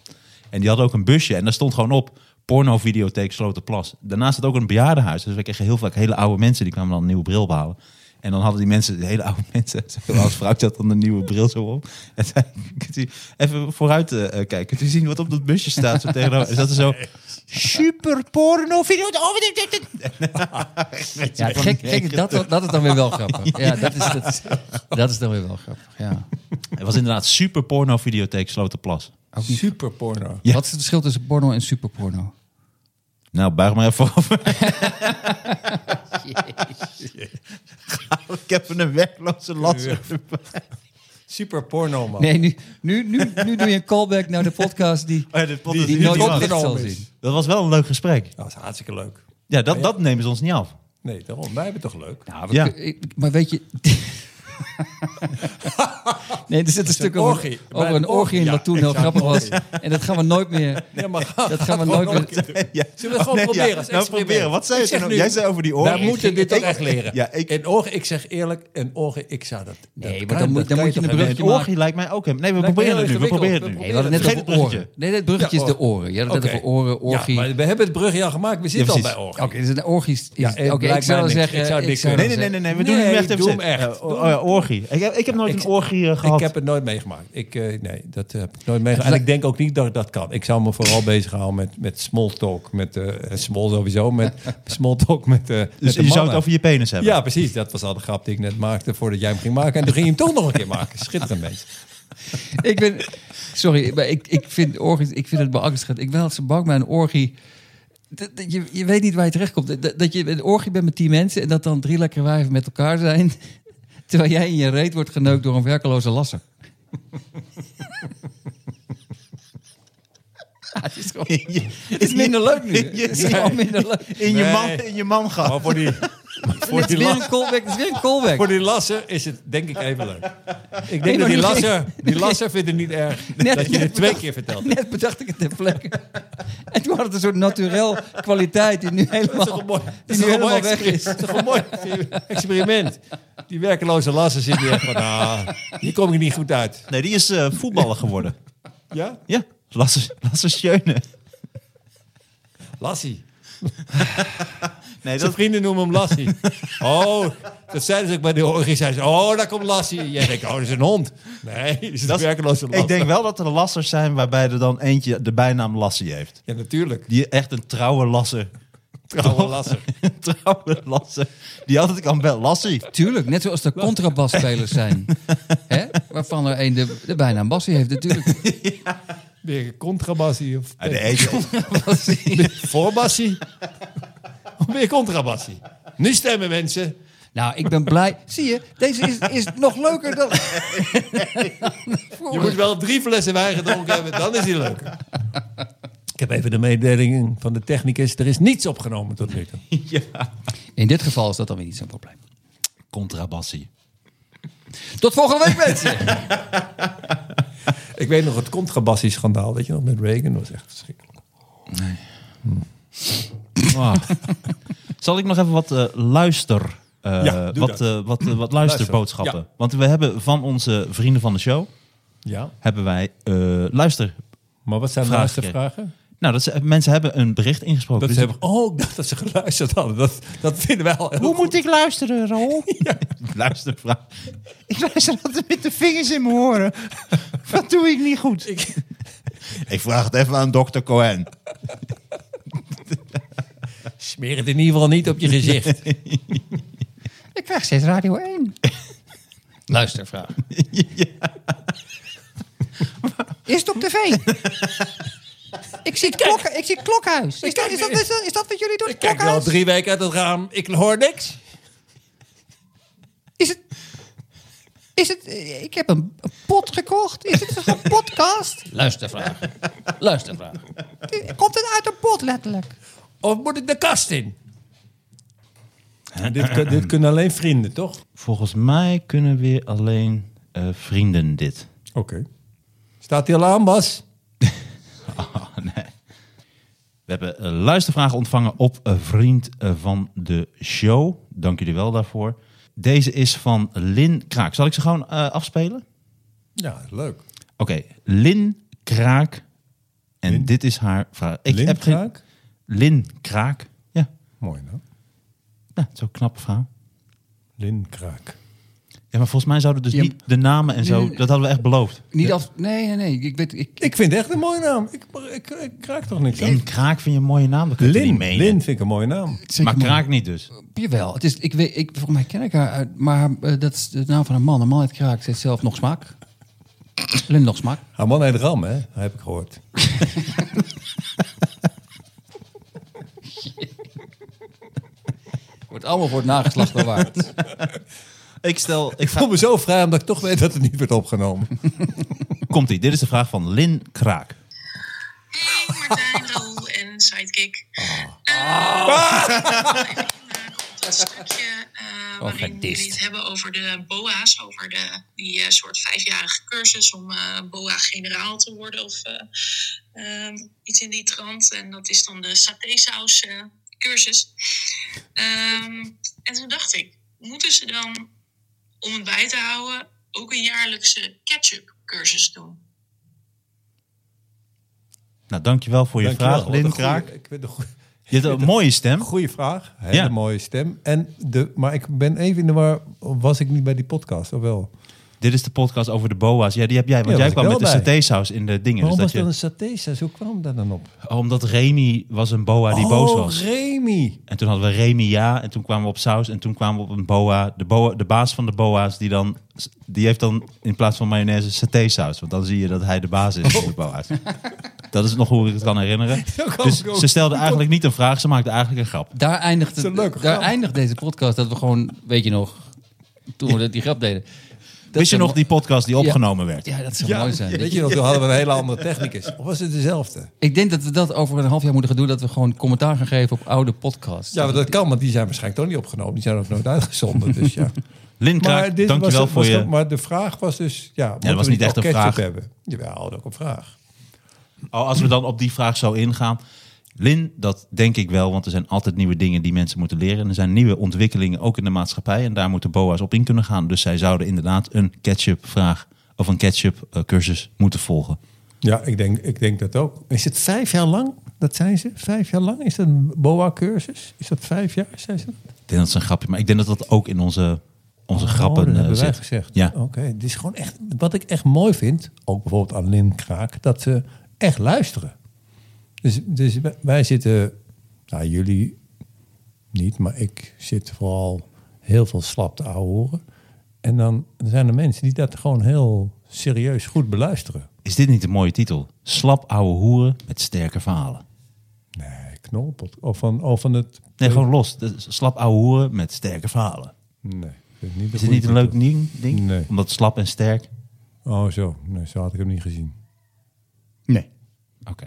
S4: En die had ook een busje. En daar stond gewoon op porno-videotheek Slotenplas. Daarnaast zat ook een bejaardenhuis. Dus we kregen heel vaak hele oude mensen. Die kwamen dan een nieuwe bril behalen. En dan hadden die mensen, die hele oude mensen... Als vrouwtje had dan een nieuwe bril zo op. En zei, kunt u even vooruit eh, kijken. Kunt u zien wat op dat busje staat? Zo tegenover. En zat er zo... Super porno-video...
S5: Ja, gek, gek dat, dat is dan weer wel grappig. Ja, dat is, dat, is- dat is dan weer wel grappig. Ja.
S4: Het was inderdaad super porno videotheek Slotenplas.
S3: Super porno.
S5: Wat is het verschil tussen porno en superporno?
S4: Nou, buig maar even over. Ik heb een werkloze last.
S3: Super porno, man.
S5: Nee, nu, nu, nu, nu doe je een callback naar de podcast die,
S4: Oh ja, de podcast
S5: die,
S4: die
S5: die nooit
S4: niet
S5: op licht
S3: was.
S5: zal zien.
S4: Dat was wel een leuk gesprek.
S3: Dat is hartstikke leuk.
S4: Ja, dat, dat nemen ze ons niet af.
S3: Nee, daarom. Wij hebben het toch leuk?
S5: Nou,
S4: Ja.
S5: ja. maar weet je... nee, er zit een stuk
S3: een
S5: over,
S3: orgie. Bij
S5: over
S3: een
S5: een orgie in
S3: orgie,
S5: dat toen
S3: ja,
S5: heel
S3: exact,
S5: grappig was. En dat gaan we nooit meer...
S3: Ja, maar
S5: Dat gaan we nooit meer... Oh,
S4: Ja.
S3: Zullen we het gewoon proberen als
S4: nou,
S3: experiment?
S4: proberen. Wat zei
S3: Ik
S4: je
S3: zeg
S5: nou?
S4: toen?
S3: nu-
S4: Jij zei over die oren.
S3: Wij moeten dit toch echt leren.
S4: Ja, ik-
S3: En ogen, ik zeg eerlijk, en ogen, ik zou dat... dat
S5: Nee, maar
S3: kan-
S5: dan moet-
S3: dat
S5: dan
S3: kan
S5: moet je
S3: toch
S5: een
S3: hebben?
S5: brugje
S4: Het oorgie lijkt mij ook hem. Nee, we
S3: Lijkt me
S4: proberen het
S3: heel
S4: nu. We
S3: ingewikkeld.
S4: proberen het nu.
S5: Nee, we hadden het net
S4: Vergeet
S5: over
S4: het
S5: oren.
S4: bruggetje.
S5: Nee, het bruggetje
S3: Ja,
S5: is de
S3: oren.
S5: oren. Je had het net
S3: Oké.
S5: over oren, orgie.
S3: Ja, maar we hebben het brugje al gemaakt. We zitten
S4: precies.
S3: al bij orgie.
S5: Oké, is het een orgie? is-
S3: Ja,
S5: Oké,
S3: lijkt mij
S5: ik zou
S3: niks.
S5: zeggen...
S3: Ik zou dit
S4: Nee,
S3: kunnen.
S4: nee, nee, nee, nee. We
S3: Nee,
S4: doen hem echt
S3: doe
S4: even
S3: hem echt.
S4: zitten. Oh ja, orgie. Ik heb- Ik heb nooit een orgie eh,
S3: Ik
S4: gehad.
S3: heb het nooit meegemaakt. Ik, eh, nee, dat heb ik nooit meegemaakt. En ik denk ook niet dat ik dat kan. Ik zou me vooral bezighouden met, met small talk. Met, eh, en small sowieso. Met small talk met, eh met
S4: Dus
S3: de
S4: je zou
S3: mannen.
S4: het over je penis hebben.
S3: Ja, precies. Dat was al de grap die ik net maakte voordat jij hem ging maken. En toen ging je hem toch nog een keer maken. Schitterend mens.
S5: ik ben, sorry, maar ik, ik vind orgies, ik vind het beangstigend. Ik ben altijd zo bang bij een orgie. Dat, dat je, je weet niet waar je terechtkomt. Dat, dat je bij een orgie bent met tien mensen en dat dan drie lekkere wijven met elkaar zijn. Terwijl jij in je reet wordt geneukt door een werkeloze lasser. Ja, het, is gewoon, het is minder leuk nu. Het is gewoon minder leuk.
S4: In je
S3: Nee.
S4: man, in je man gaat.
S3: Maar voor die, voor
S5: Het is
S3: die,
S5: weer
S3: la-
S5: een callback. Het is weer een callback.
S3: voor die lasser is het denk ik even leuk. Ik denk dat
S5: maar
S3: die
S5: niet-
S3: lasser, die lasser vindt het niet erg
S5: Net-
S3: dat je
S5: net
S3: dit twee
S5: bedacht.
S3: keer vertelt.
S5: Net bedacht ik het ter plekke. En toen had het een soort naturel kwaliteit die nu helemaal,
S3: Dat is toch een mooi, dat
S5: Oh, die
S3: is
S5: nu
S3: toch een mooi
S5: helemaal weg
S3: experiment.
S5: is.
S3: Dat is toch een mooi experiment. Die werkeloze lassen zit hier echt van, ah, hier kom ik niet goed uit.
S4: Nee, die is eh, voetballer geworden.
S3: Ja?
S4: Ja, Lasse, Lasse Schöne.
S3: Lassie. Zijn
S4: Nee, dat,
S3: vrienden noemen hem Lassie. Oh, dat zeiden ze ook bij de orgie. Zeiden ze, oh, daar komt Lassie. Jij denkt, oh, dat is een hond. Nee, dat is een
S4: dat-
S3: werkeloze lasser.
S4: ik denk wel dat er lassers zijn waarbij er dan eentje de bijnaam Lassie heeft.
S3: Ja, natuurlijk.
S4: Die echt een trouwe lasser.
S3: Trouwe lasser.
S4: Een trouwe lasser. Die altijd kan bellen. Lassie.
S5: Tuurlijk, net zoals de contrabasspelers zijn. Hè? Waarvan er een de, de bijnaam Bassie heeft natuurlijk.
S3: Weer een contrabassie. Of
S4: Ah, de ene-
S3: voorbassie. Of weer contrabassie. Nu stemmen mensen.
S5: Nou, ik ben blij. Zie je, deze is, is nog leuker dan...
S3: Je moet wel drie flessen wijn gedronken hebben, dan is hij leuk. Ik heb even de mededeling van de technicus. Er is niets opgenomen tot nu toe.
S5: In dit geval is dat dan weer niet zo'n probleem.
S4: Contrabassie.
S5: Tot volgende week, mensen!
S3: Ik weet nog het contrabassie-schandaal, weet je nog, met Reagan. Dat was echt verschrikkelijk.
S4: Ah. Wow. Zal ik nog even wat eh, luister eh,
S3: Ja, doe
S4: wat,
S3: dat.
S4: eh, wat, eh, wat luisterboodschappen.
S3: Ja.
S4: Want we hebben van onze vrienden van de show,
S3: Ja.
S4: hebben wij eh, luister.
S3: Maar wat zijn de
S4: Vraag
S3: laatste
S4: gekregen.
S3: vragen?
S4: Nou, dat ze- mensen hebben een bericht ingesproken.
S3: Dat ze
S4: Dus
S3: hebben, oh, ik dacht dat ze geluisterd hadden. Dat, dat vinden wij al heel
S6: Hoe moet ik luisteren, Raoul?
S4: luistervraag.
S6: Ik luister altijd met de vingers in mijn oren. Wat doe ik niet goed?
S4: Ik vraag het even aan dokter Cohen.
S3: Smeer het in ieder geval niet op je gezicht.
S6: Ik krijg steeds Radio 1.
S5: Luistervraag.
S6: Is het op tv? ik, zie het klok, ik zie het klokhuis. Is dat, is, dat, is, dat, is dat wat jullie doen?
S3: Ik
S6: Het
S3: kijk nu al
S6: klokhuis?
S3: drie weken uit het raam. Ik hoor niks.
S6: Is het... Is het... eh, Ik heb een, een pot gekocht. Is het een podcast?
S5: Luistervraag. Luistervraag.
S6: Komt het uit een pot, letterlijk?
S3: Of moet ik de kast in? dit, kun- dit kunnen alleen vrienden, toch? Oké.
S4: Volgens mij kunnen weer alleen eh, vrienden dit.
S3: Staat hij al aan, Bas?
S4: Oh, nee. We hebben eh, luistervragen ontvangen op eh, Vriend eh, van de Show. Dank jullie wel daarvoor. Deze is van Lin Kraak. Zal ik ze gewoon eh, afspelen?
S3: Ja, leuk.
S4: Oké, Lin Kraak. En dit is haar vraag. Ik
S3: Lin
S4: heb geen-
S3: Kraak?
S4: Lin Kraak. Ja,
S3: Mooi, nou.
S4: ja het is ook een knappe vrouw.
S3: Lin Kraak.
S4: Ja, maar volgens mij zouden dus
S5: Ja,
S4: niet de namen en zo...
S5: nee, nee.
S4: Dat hadden we echt beloofd.
S5: Niet af... Nee, nee, nee. Ik weet... Ik,
S3: Ik vind het echt een mooie naam. Ik, ik, ik kraak toch niks aan.
S4: Lin Kraak vind je een mooie naam. Dat kun je toch
S3: Lin,
S4: niet menen.
S3: Lin vind ik een mooie naam.
S4: maar Kraak niet dus.
S5: Jawel, het is, ik weet, ik, volgens mij ken ik haar, uit, maar eh, dat is de naam van een man. Een man uit Kraak zegt zelf nog smaak. Lin nog smaak.
S3: Haar man heet Ram, hè? Dat heb ik gehoord.
S5: Wordt allemaal voor het nageslacht bewaard.
S4: Ik stel... Ik
S3: Ik voel me zo vrij omdat ik toch weet dat het niet werd opgenomen.
S4: Komt-ie. Dit is de vraag van Lin Kraak.
S7: Hey Martijn, Raoul en Sidekick. Eh, Dat stukje eh, waarin jullie het hebben over de BOA's, over de, die eh, soort vijfjarige cursus om eh, BOA-generaal te worden of eh, ehm, iets in die trant. En dat is dan de satésaus eh, cursus. Ehm, en toen dacht ik, moeten ze dan, om het bij te houden, ook een jaarlijkse ketchup cursus doen?
S4: Nou, dankjewel voor je
S3: Dankjewel.
S4: vraag,
S3: Wat een
S4: Lin
S3: goeie-
S4: Kraak.
S3: Ik weet een goeie-
S4: Je hebt een mooie stem.
S3: goede vraag. Hele
S4: Ja.
S3: mooie stem. En de, maar ik ben even in de war. Was ik niet bij die podcast? Of wel?
S4: Dit is de podcast over de boa's. Ja, die heb jij, want
S3: Ja,
S4: jij
S3: was
S4: kwam
S3: ik
S4: met
S3: wel
S4: de
S3: bij.
S4: satésaus in de dingen. Dus
S3: Waarom
S4: dat
S3: was
S4: je,
S3: dat een saté Hoe kwam dat dan op?
S4: Oh, Omdat Remy was een boa
S3: Oh,
S4: die boos was.
S3: Remy.
S4: En toen hadden we Remy ja, en toen kwamen we op saus en toen kwamen we op een boa. De, boa, de baas van de boa's, die, dan, die heeft dan in plaats van mayonaise satésaus. Want dan zie je dat hij de baas is van de boa's. Dat is nog hoe ik het kan herinneren.
S3: Oh. kan
S4: Dus
S3: ik ook.
S4: ze stelde eigenlijk niet een vraag, ze maakte eigenlijk een grap.
S5: Daar eindigt,
S3: is een
S5: het,
S3: leuke
S5: daar
S3: grap.
S5: eindigt deze podcast dat we gewoon, weet je nog, toen we die grap deden. Dat
S4: Wist je
S5: zou
S4: nog die podcast die opgenomen werd?
S5: Ja, dat zou mooi zijn.
S3: Weet je nog, toen hadden we een hele andere technicus. Of was het dezelfde?
S5: Ik denk dat we dat over een half jaar moeten gaan doen, dat we gewoon commentaar gaan geven op oude podcasts.
S3: Ja, maar dat kan, want die zijn waarschijnlijk toch niet opgenomen. Die zijn ook nooit uitgezonden. Dus ja.
S4: Lin Kraak,
S3: dit
S4: dankjewel
S3: was-
S4: voor
S3: was
S4: je...
S3: ook- Maar de vraag was dus... Ja, moeten
S4: was
S3: we
S4: niet echt
S3: ook
S4: een
S3: ketchup
S4: vraag.
S3: Hebben? Jawel, dat ook een vraag.
S4: Oh, als we dan op die vraag zo ingaan. Lin, dat denk ik wel, want er zijn altijd nieuwe dingen die mensen moeten leren. En er zijn nieuwe ontwikkelingen ook in de maatschappij. En daar moeten BOA's op in kunnen gaan. Dus zij zouden inderdaad een catch-up-vraag of een catch-up-cursus moeten volgen.
S3: Ja, ik denk, ik denk dat ook. Is het vijf jaar lang? Dat zijn ze? Vijf jaar lang? Is dat een BOA-cursus? Is dat vijf jaar? Zijn ze dat?
S4: Ik denk dat is een grapje, maar ik denk dat dat ook in onze, onze
S3: Oh,
S4: grappen
S3: dat
S4: eh,
S3: hebben wij
S4: zit.
S3: gezegd. Oh.
S4: Ja.
S3: Oké, dit is gewoon echt... Wat ik echt mooi vind, ook bijvoorbeeld aan Lin Kraak... dat ze echt luisteren. Dus, dus wij zitten... Nou, jullie niet, maar ik zit vooral heel veel slap te ouwehoeren. En dan zijn er mensen die dat gewoon heel serieus goed beluisteren.
S4: Is dit niet een mooie titel? Slap ouwe hoeren met sterke verhalen.
S3: Nee, knolpot. Of van, of van het...
S4: Nee, gewoon los. Dat is Slap ouwe hoeren met sterke verhalen.
S3: Nee, vind ik niet de
S4: Is dit
S3: goede
S4: niet een
S3: titel.
S4: leuk ding? ding?
S3: Nee.
S4: Omdat slap en sterk...
S3: Oh, zo. Nee, zo had ik hem niet gezien.
S6: Nee.
S4: Oké.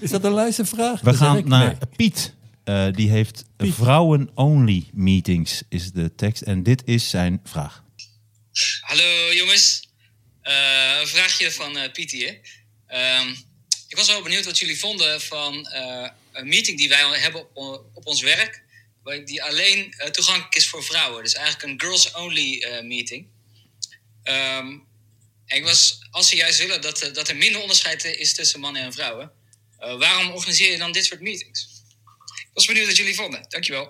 S3: Is dat een luistervraag?
S4: We gaan naar Piet. Eh, die heeft vrouwen-only meetings, is de tekst. En dit is zijn vraag.
S8: Hallo jongens. Eh, een vraagje van eh Piet hier. Ehm, ik was wel benieuwd wat jullie vonden van eh, een meeting die wij hebben eh, op, op ons werk. waar- die alleen eh, toegankelijk is voor vrouwen. Dus eigenlijk een girls-only eh, meeting. Ehm, en ik was, als ze juist willen dat, eh, dat er minder onderscheid is tussen mannen en vrouwen, eh, waarom organiseer je dan dit soort meetings? Ik was benieuwd wat jullie vonden. Dankjewel.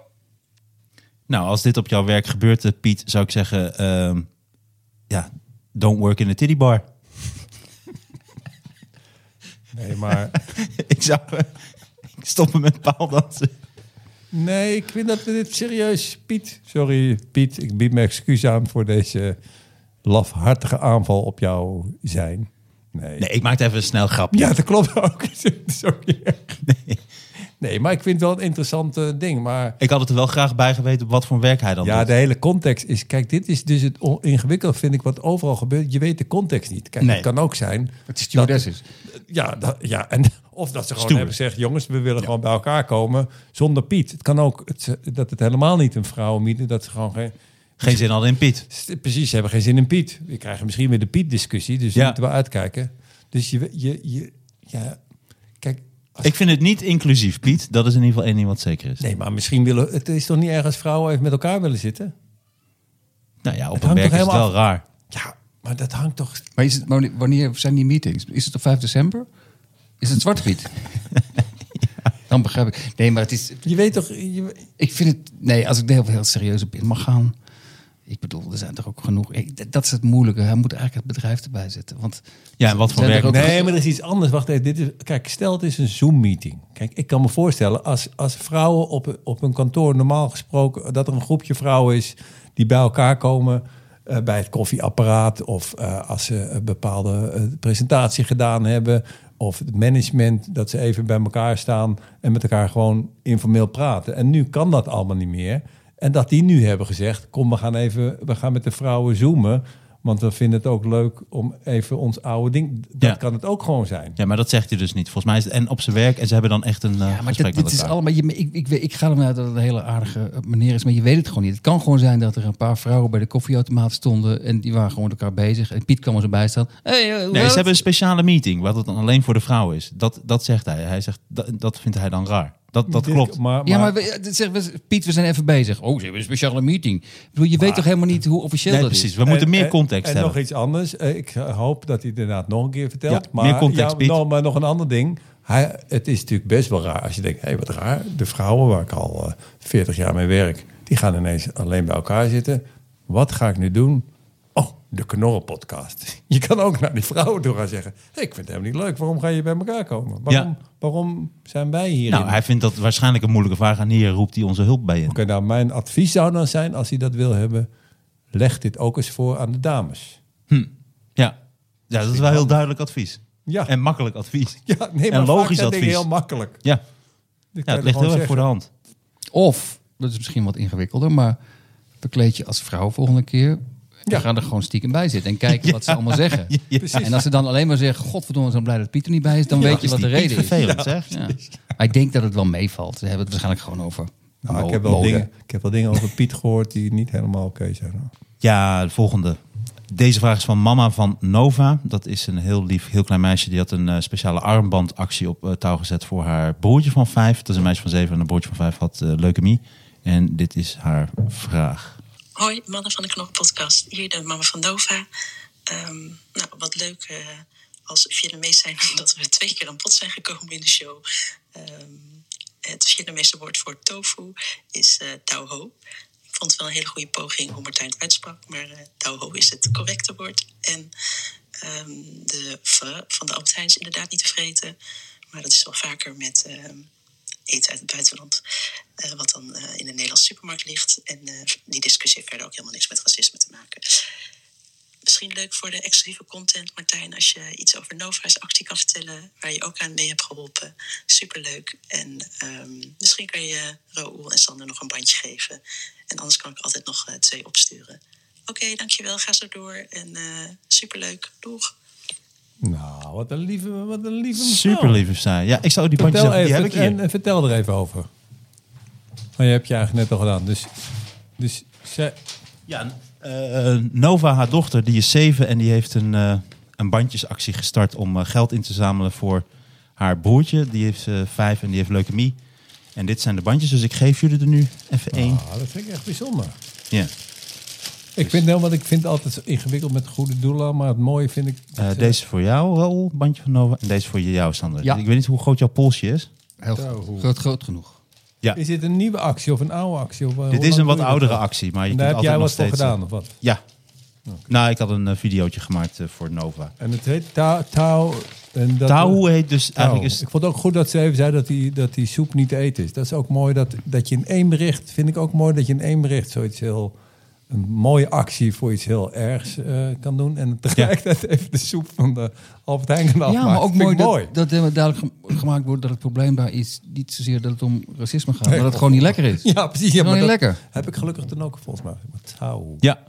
S4: Nou, als dit op jouw werk gebeurt, eh, Piet, zou ik zeggen... ehm, ja, don't work in a titty bar.
S3: Nee, maar...
S4: ik zou... eh, ik stop me met paaldansen.
S3: Nee, ik vind dat we dit serieus... Piet, sorry Piet, ik bied mijn excuus aan voor deze lafhartige aanval op jouw zijn. Nee.
S4: Nee, ik maak even een snel grapje.
S3: Ja, dat klopt ook. sorry. Nee. nee, maar ik vind het wel een interessant eh, ding, maar...
S4: Ik had het er wel graag bij geweten op wat voor werk hij dan
S3: Ja,
S4: doet.
S3: de hele context is... Kijk, dit is dus het on- ingewikkeld, vind ik, wat overal gebeurt. Je weet de context niet. Kijk,
S4: Nee.
S3: het kan ook zijn...
S5: Het stewardess is.
S3: Ja, dat, ja en, of dat ze gewoon
S4: Stoer.
S3: hebben gezegd... jongens, we willen gewoon bij elkaar komen zonder Piet. Het kan ook het, dat het helemaal niet een vrouwenmieten... dat ze gewoon geen...
S4: Geen zin hadden in Piet.
S3: st- Precies, ze hebben geen zin in Piet. We krijgen misschien weer de Piet-discussie, dus
S4: Ja.
S3: we moeten wel uitkijken. Dus je... je, je ja, kijk,
S4: Ik vind het niet inclusief, Piet. Dat is in ieder geval één ding wat zeker is.
S3: Nee, maar misschien willen. Het is toch niet erg als vrouwen even met elkaar willen zitten?
S4: Nou ja, op
S3: hangt
S4: een werk
S3: toch
S4: is het
S3: helemaal
S4: wel raar.
S3: Ja, maar dat hangt toch.
S5: Maar is het, wanneer- wanneer zijn die meetings? Is het op 5 december? Is het Zwarte Piet? Dan begrijp ik. Nee, maar het is,
S3: Je weet toch. je-
S5: ik vind het... Nee, als ik er heel, heel serieus op in mag gaan... Ik bedoel, er zijn toch ook genoeg... ik- dat- dat is het moeilijke. Hij moet eigenlijk het bedrijf erbij zetten. Want
S4: Ja, en wat voor
S5: Zijn er
S4: werk?
S5: ook-
S3: nee, maar er is iets anders. Wacht even. Dit is, kijk, stel het is een Zoom-meeting. Kijk, ik kan me voorstellen als, als vrouwen op, op een kantoor normaal gesproken. dat er een groepje vrouwen is die bij elkaar komen. eh, bij het koffieapparaat of eh, als ze een bepaalde eh, presentatie gedaan hebben. of het management, dat ze even bij elkaar staan. en met elkaar gewoon informeel praten. En nu kan dat allemaal niet meer. En dat die nu hebben gezegd: kom, we gaan even, we gaan met de vrouwen zoomen. Want we vinden het ook leuk om even ons oude ding. Dat
S4: Ja.
S3: kan het ook gewoon zijn.
S4: Ja, maar dat zegt hij dus niet. Volgens mij is het en op zijn werk en ze hebben dan echt een eh
S5: Ja, maar dit,
S4: gesprek
S5: dit
S4: met
S5: is
S4: elkaar.
S5: allemaal. Je, ik, ik, weet- ik ga ervan uit dat het een hele aardige eh, meneer is, maar je weet het gewoon niet. Het kan gewoon zijn dat er een paar vrouwen bij de koffieautomaat stonden en die waren gewoon met elkaar bezig. En Piet kwam er zo bij staan. Hey, eh, hoe
S4: Nee,
S5: gaat
S4: ze hebben
S5: het?
S4: een speciale meeting, wat het dan alleen voor de vrouw is. Dat, dat zegt hij. Hij zegt, dat, dat vindt hij dan raar. Dat, dat
S3: Dit-
S4: klopt.
S3: Maar, maar,
S5: Ja, maar we- eh, dit zeggen we- Piet, we zijn even bezig. Oh, ze hebben een speciale meeting. Ik bedoel, je weet toch helemaal niet hoe officieel
S4: Nee,
S5: dat
S4: precies.
S5: is?
S4: We moeten
S3: en-
S4: meer
S3: en-
S4: context
S3: en,
S4: hebben.
S3: nog iets anders. Eh, Ik hoop dat hij het inderdaad nog een keer vertelt.
S4: Ja,
S3: maar,
S4: meer context,
S3: ja,
S4: Piet.
S3: nou, maar nog een ander ding. Hij, het is natuurlijk best wel raar als je denkt: hé, wat raar. De vrouwen waar ik al eh, 40 jaar mee werk, die gaan ineens alleen bij elkaar zitten. Wat ga ik nu doen? Oh, de Knorren-podcast. Je kan ook naar die vrouwen toe gaan zeggen: hey, ik vind het helemaal niet leuk. Waarom ga je bij elkaar komen? Waarom,
S4: Ja.
S3: waarom zijn wij hier?
S4: nou, hij vindt dat waarschijnlijk een moeilijke vraag. En hier roept hij onze hulp bij in.
S3: Oké, nou, mijn advies zou dan zijn, als hij dat wil hebben, leg dit ook eens voor aan de dames.
S4: Ja. ja, dat is wel heel duidelijk advies.
S3: Ja.
S4: En makkelijk advies.
S3: Ja, nee, maar
S4: en logisch
S3: vaak zijn
S4: advies.
S3: dingen heel makkelijk.
S4: Ja,
S3: Dit
S4: ja
S3: kan je
S4: het ligt
S3: gewoon
S4: heel erg voor de
S3: zeggen.
S4: hand.
S5: Of, dat is misschien wat ingewikkelder, maar bekleed je als vrouw volgende keer.
S3: Ja.
S5: Ja. Ga er gewoon stiekem bij zitten en kijken wat ze allemaal zeggen. En als ze dan alleen maar zeggen: Godverdomme, zo blij dat Piet er niet bij is, dan weet je
S4: Is
S5: wat de
S4: die Piet
S5: reden is.
S4: vervelend, zeg.
S5: Ja. Maar ik denk dat het wel meevalt. Ze hebben het waarschijnlijk gewoon over.
S3: Nou,
S5: mo-
S3: ik, heb wel
S5: mode.
S3: dingen, ik heb wel dingen over Piet gehoord die niet helemaal oké zijn. hoor.
S4: Ja, de volgende. Deze vraag is van mama van Nova. Dat is een heel lief, heel klein meisje. Die had een eh, speciale armbandactie op eh, touw gezet voor haar broertje van vijf. Dat is een meisje van zeven en een broertje van vijf had eh, leukemie. En dit is haar vraag.
S9: Hoi, mannen van de Knop Podcast. Hier de mama van Nova. Ehm, nou, wat leuk eh, als Vietnamees zijn, omdat we twee keer aan bod zijn gekomen in de show. Ehm, het Vietnamese woord voor tofu is eh tau ho. Ik vond het wel een hele goede poging hoe Martijn het uitsprak, maar eh tau ho is het correcte woord. En ehm, de pho van de Albert Heijn is inderdaad niet te vreten, maar dat is wel vaker met ehm, eten uit het buitenland. eh, wat dan eh, in de Nederlandse supermarkt ligt. En eh, die discussie heeft verder ook helemaal niks met racisme te maken. Misschien leuk voor de exclusieve content, Martijn, als je iets over Nova's actie kan vertellen. Waar je ook aan mee hebt geholpen. Superleuk. En ehm, misschien kan je Raoul en Sander nog een bandje geven. En anders kan ik altijd nog eh, twee opsturen. Oké, dankjewel. Ga zo door. En eh, superleuk. Doeg.
S3: Nou, wat een lieve, wat een lieve mevrouw.
S4: Super lief is zij. Ja, ik zou die bandjes
S3: Oh. Vertel
S4: hebben.
S3: even,
S4: Die heb ik hier.
S3: En, en vertel er even over. Maar je hebt je eigenlijk net al gedaan. Dus, dus ze,
S4: Ja, eh, Nova, haar dochter, die is zeven en die heeft een, eh, een bandjesactie gestart om eh, geld in te zamelen voor haar broertje. Die heeft eh, vijf en die heeft leukemie. En dit zijn de bandjes, dus ik geef jullie er nu even één.
S3: Ah, dat vind ik echt bijzonder.
S4: Ja. Dus-
S3: Ik vind, nou, want ik vind het altijd zo ingewikkeld met goede doelen, maar het mooie vind ik...
S4: Eh, deze voor jou, Raoul, bandje van Nova. En deze voor jou, Sander.
S5: Ja.
S4: Ik weet niet hoe groot jouw polsje is.
S5: Heel groot. Groot, groot genoeg.
S4: Ja.
S3: Is dit een nieuwe actie of een oude actie? Of, eh, hoe
S4: Dit is
S3: lang
S4: een
S3: doe
S4: wat
S3: je dat
S4: oudere
S3: al?
S4: actie, maar je
S3: En daar
S4: kunt
S3: heb jij
S4: altijd nog
S3: wat voor
S4: steeds... eh,
S3: gedaan, of wat?
S4: Ja. Nou, ik had een eh, videootje gemaakt eh, voor Nova.
S3: En het heet Tau... tau en dat,
S4: Tahu heet dus
S3: Tau.
S4: eigenlijk is
S3: Ik vond ook goed dat ze even zei dat die, dat die soep niet te eten is. Dat is ook mooi dat, dat je in één bericht... Vind ik ook mooi dat je in één bericht zoiets heel... Een mooie actie voor iets heel ergs eh, kan doen. En tegelijkertijd even de soep van de Albert Heijn kan afmaken.
S5: Ja, maar ook
S3: Vind ik
S5: mooi,
S3: mooi.
S5: dat, dat helemaal duidelijk gem- gemaakt wordt dat het probleem daar is. Niet zozeer dat het om racisme gaat, maar dat het gewoon niet lekker is.
S3: Ja, precies. Ja,
S5: Gewoon
S3: maar
S5: niet
S3: dat
S5: lekker.
S3: Heb ik gelukkig dan ook volgens mij. Maar Tau.
S4: Ja,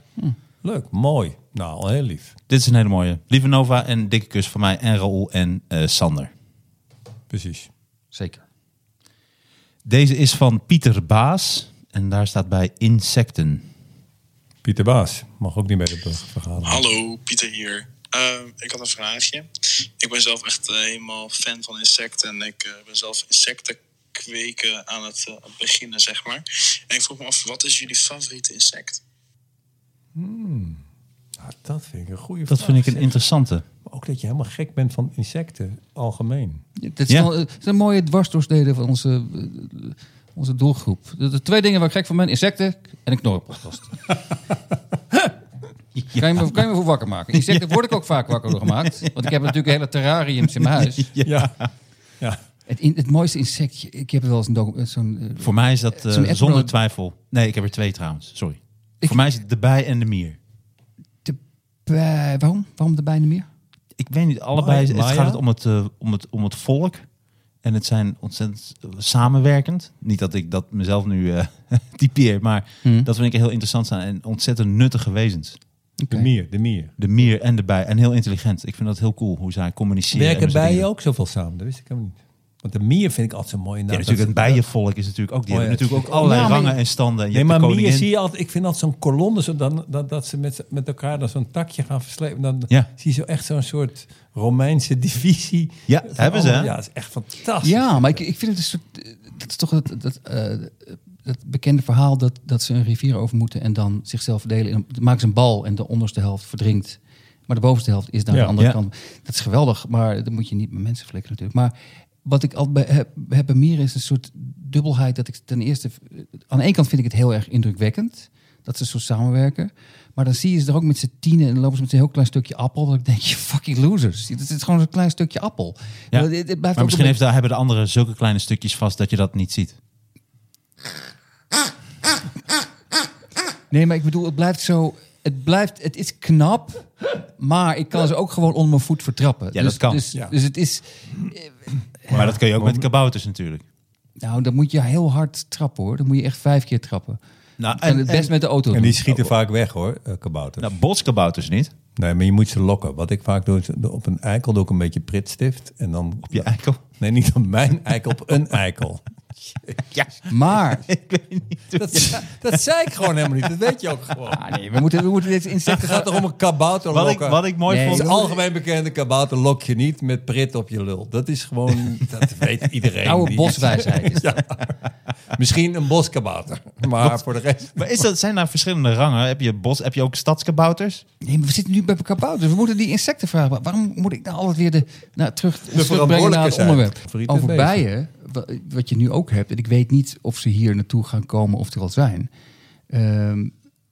S3: Leuk, mooi. Nou, heel lief.
S4: dit is een hele mooie. Lieve Nova en een dikke kus van mij en Raoul en eh, Sander.
S3: Precies.
S5: Zeker.
S4: Deze is van Pieter Baas en daar staat bij insecten.
S3: Pieter Baas mag ook niet bij de burgervergadering.
S10: Hallo, Pieter hier. Eh, ik had een vraagje. Ik ben zelf echt eh, helemaal fan van insecten. En ik eh, ben zelf insecten kweken aan het eh, beginnen, zeg maar. En ik vroeg me af, wat is jullie favoriete insect?
S3: Ja, dat vind ik een goede
S4: Dat
S3: vraag.
S4: vind ik een
S3: zeg.
S4: interessante.
S3: Maar Ook dat je helemaal gek bent van insecten, algemeen.
S5: Dit
S4: Ja.
S5: zijn, al- eh, zijn mooie dwarsdoorsneden van onze, eh, onze doelgroep. De, de twee dingen waar ik gek van ben, insecten en een knorrenpodcast. Kan, je me, kan je me voor wakker maken? Insecten word ik ook vaak wakker door gemaakt. Want ik heb natuurlijk hele terrariums in mijn huis.
S3: Ja. ja.
S5: Het, in- het mooiste insectje, ik heb wel eens een docu- eh, zo'n... eh,
S4: Voor mij is dat eh,
S5: Zo'n Edward-
S4: zonder twijfel. Nee, ik heb er twee trouwens. Sorry. Voor mij is het de bij en de mier.
S5: de, bij- eh, waarom? Waarom de bijna meer?
S4: Ik weet niet, allebei
S3: Maya?
S4: het gaat het om, het, eh, om, het, om het volk. En het zijn ontzettend eh, samenwerkend. Niet dat ik dat mezelf nu eh, typeer, maar dat vind ik heel interessant zijn. En ontzettend nuttige wezens.
S3: De mier, de mier.
S4: De mier en de bij. En heel intelligent. Ik vind dat heel cool hoe zij communiceren. en
S3: Werken
S4: hoe ze
S3: bijen
S4: dingen-
S3: ook zoveel samen? Dat wist ik helemaal niet. Want de mier vind ik altijd zo mooi. Nou,
S4: Ja, natuurlijk, het bijenvolk is natuurlijk ook. Die
S3: Oh ja,
S4: hebben natuurlijk ook
S3: tuurlijk.
S4: allerlei
S3: Ja, maar-
S4: rangen en standen. En je
S3: Nee,
S4: hebt
S3: maar
S4: de
S3: mier
S4: koningin.
S3: zie je altijd... Ik vind altijd zo'n kolonne, zo dan, dat, dat ze met, z'n- met elkaar dan zo'n takje gaan verslepen. Dan
S4: Ja.
S3: zie je zo echt zo'n soort Romeinse divisie.
S4: Ja,
S3: Van
S4: hebben ze, hè?
S3: allemaal- Ja, dat is echt fantastisch.
S5: Ja, maar ik, ik vind het een soort. eh, Dat is toch dat, dat, eh, dat bekende verhaal dat, dat ze een rivier over moeten en dan zichzelf verdelen. En dan maken ze een bal en de onderste helft verdrinkt. Maar de bovenste helft is naar
S3: Ja.
S5: de andere
S4: Ja.
S5: kant. Dat is geweldig, maar dat moet je niet met mensen flikken natuurlijk. Maar wat ik altijd bij, heb, heb bij mieren is een soort dubbelheid. Dat ik ten eerste... eh, Aan de ene kant vind ik het heel erg indrukwekkend. Dat ze zo samenwerken. Maar dan zie je ze er ook met z'n tienen en dan lopen ze met een heel klein stukje appel. Dan denk je, fucking losers. Het is gewoon zo'n klein stukje appel.
S4: Ja.
S5: Maar, Nou, dit- dit blijft ook
S4: Maar
S5: een
S4: misschien
S5: beetje-
S4: heeft, daar hebben de anderen zulke kleine stukjes vast dat je dat niet ziet.
S5: Nee, maar ik bedoel, het blijft zo. Het blijft, het is knap, maar ik kan ze ook gewoon onder mijn voet vertrappen.
S4: Ja,
S5: dus,
S4: dat kan.
S5: Dus,
S3: Ja.
S5: dus het is,
S4: Maar dat kun je ook met kabouters natuurlijk.
S5: nou, dan moet je heel hard trappen hoor. Dan moet je echt vijf keer trappen.
S4: Nou,
S5: en, het best met de auto.
S3: En
S5: doen.
S3: die schieten vaak weg, hoor, eh, kabouters.
S4: Nou, botskabouters niet.
S3: Nee, maar je moet ze lokken. Wat ik vaak doe, is op een eikel doe ik een beetje pritstift. En dan
S4: Je eikel.
S3: Nee, niet op mijn eikel, op een eikel.
S5: Maar,
S3: Dat, dat zei ik gewoon helemaal niet. Dat weet je ook gewoon.
S5: ah, nee, we moeten, we moeten deze
S3: Het
S5: insecten
S3: gaat toch om een kabouter
S4: Wat ik, wat ik mooi
S5: Nee.
S3: Het
S4: vond.
S3: is algemeen bekende kabouter lok je niet met prit op je lul. Dat is gewoon, dat weet iedereen.
S5: oude
S3: die-
S5: boswijsheid. Is dat.
S3: Misschien een boskabouter. Maar voor de rest...
S4: Maar is dat, zijn daar verschillende rangen? Heb je, bos, heb je ook stadskabouters?
S5: Nee, maar we zitten nu bij kabouters. Dus we moeten die insecten vragen. Maar Waarom moet ik nou altijd weer de, nou, terug, ons terugbrengen naar het
S3: verantwoordelijke
S5: onderwerp?
S3: zijn. Favoriete
S5: Over
S3: beesten.
S5: bijen, wa- wat je nu ook hebt. En ik weet niet of ze hier naartoe gaan komen of er al zijn. Ehm,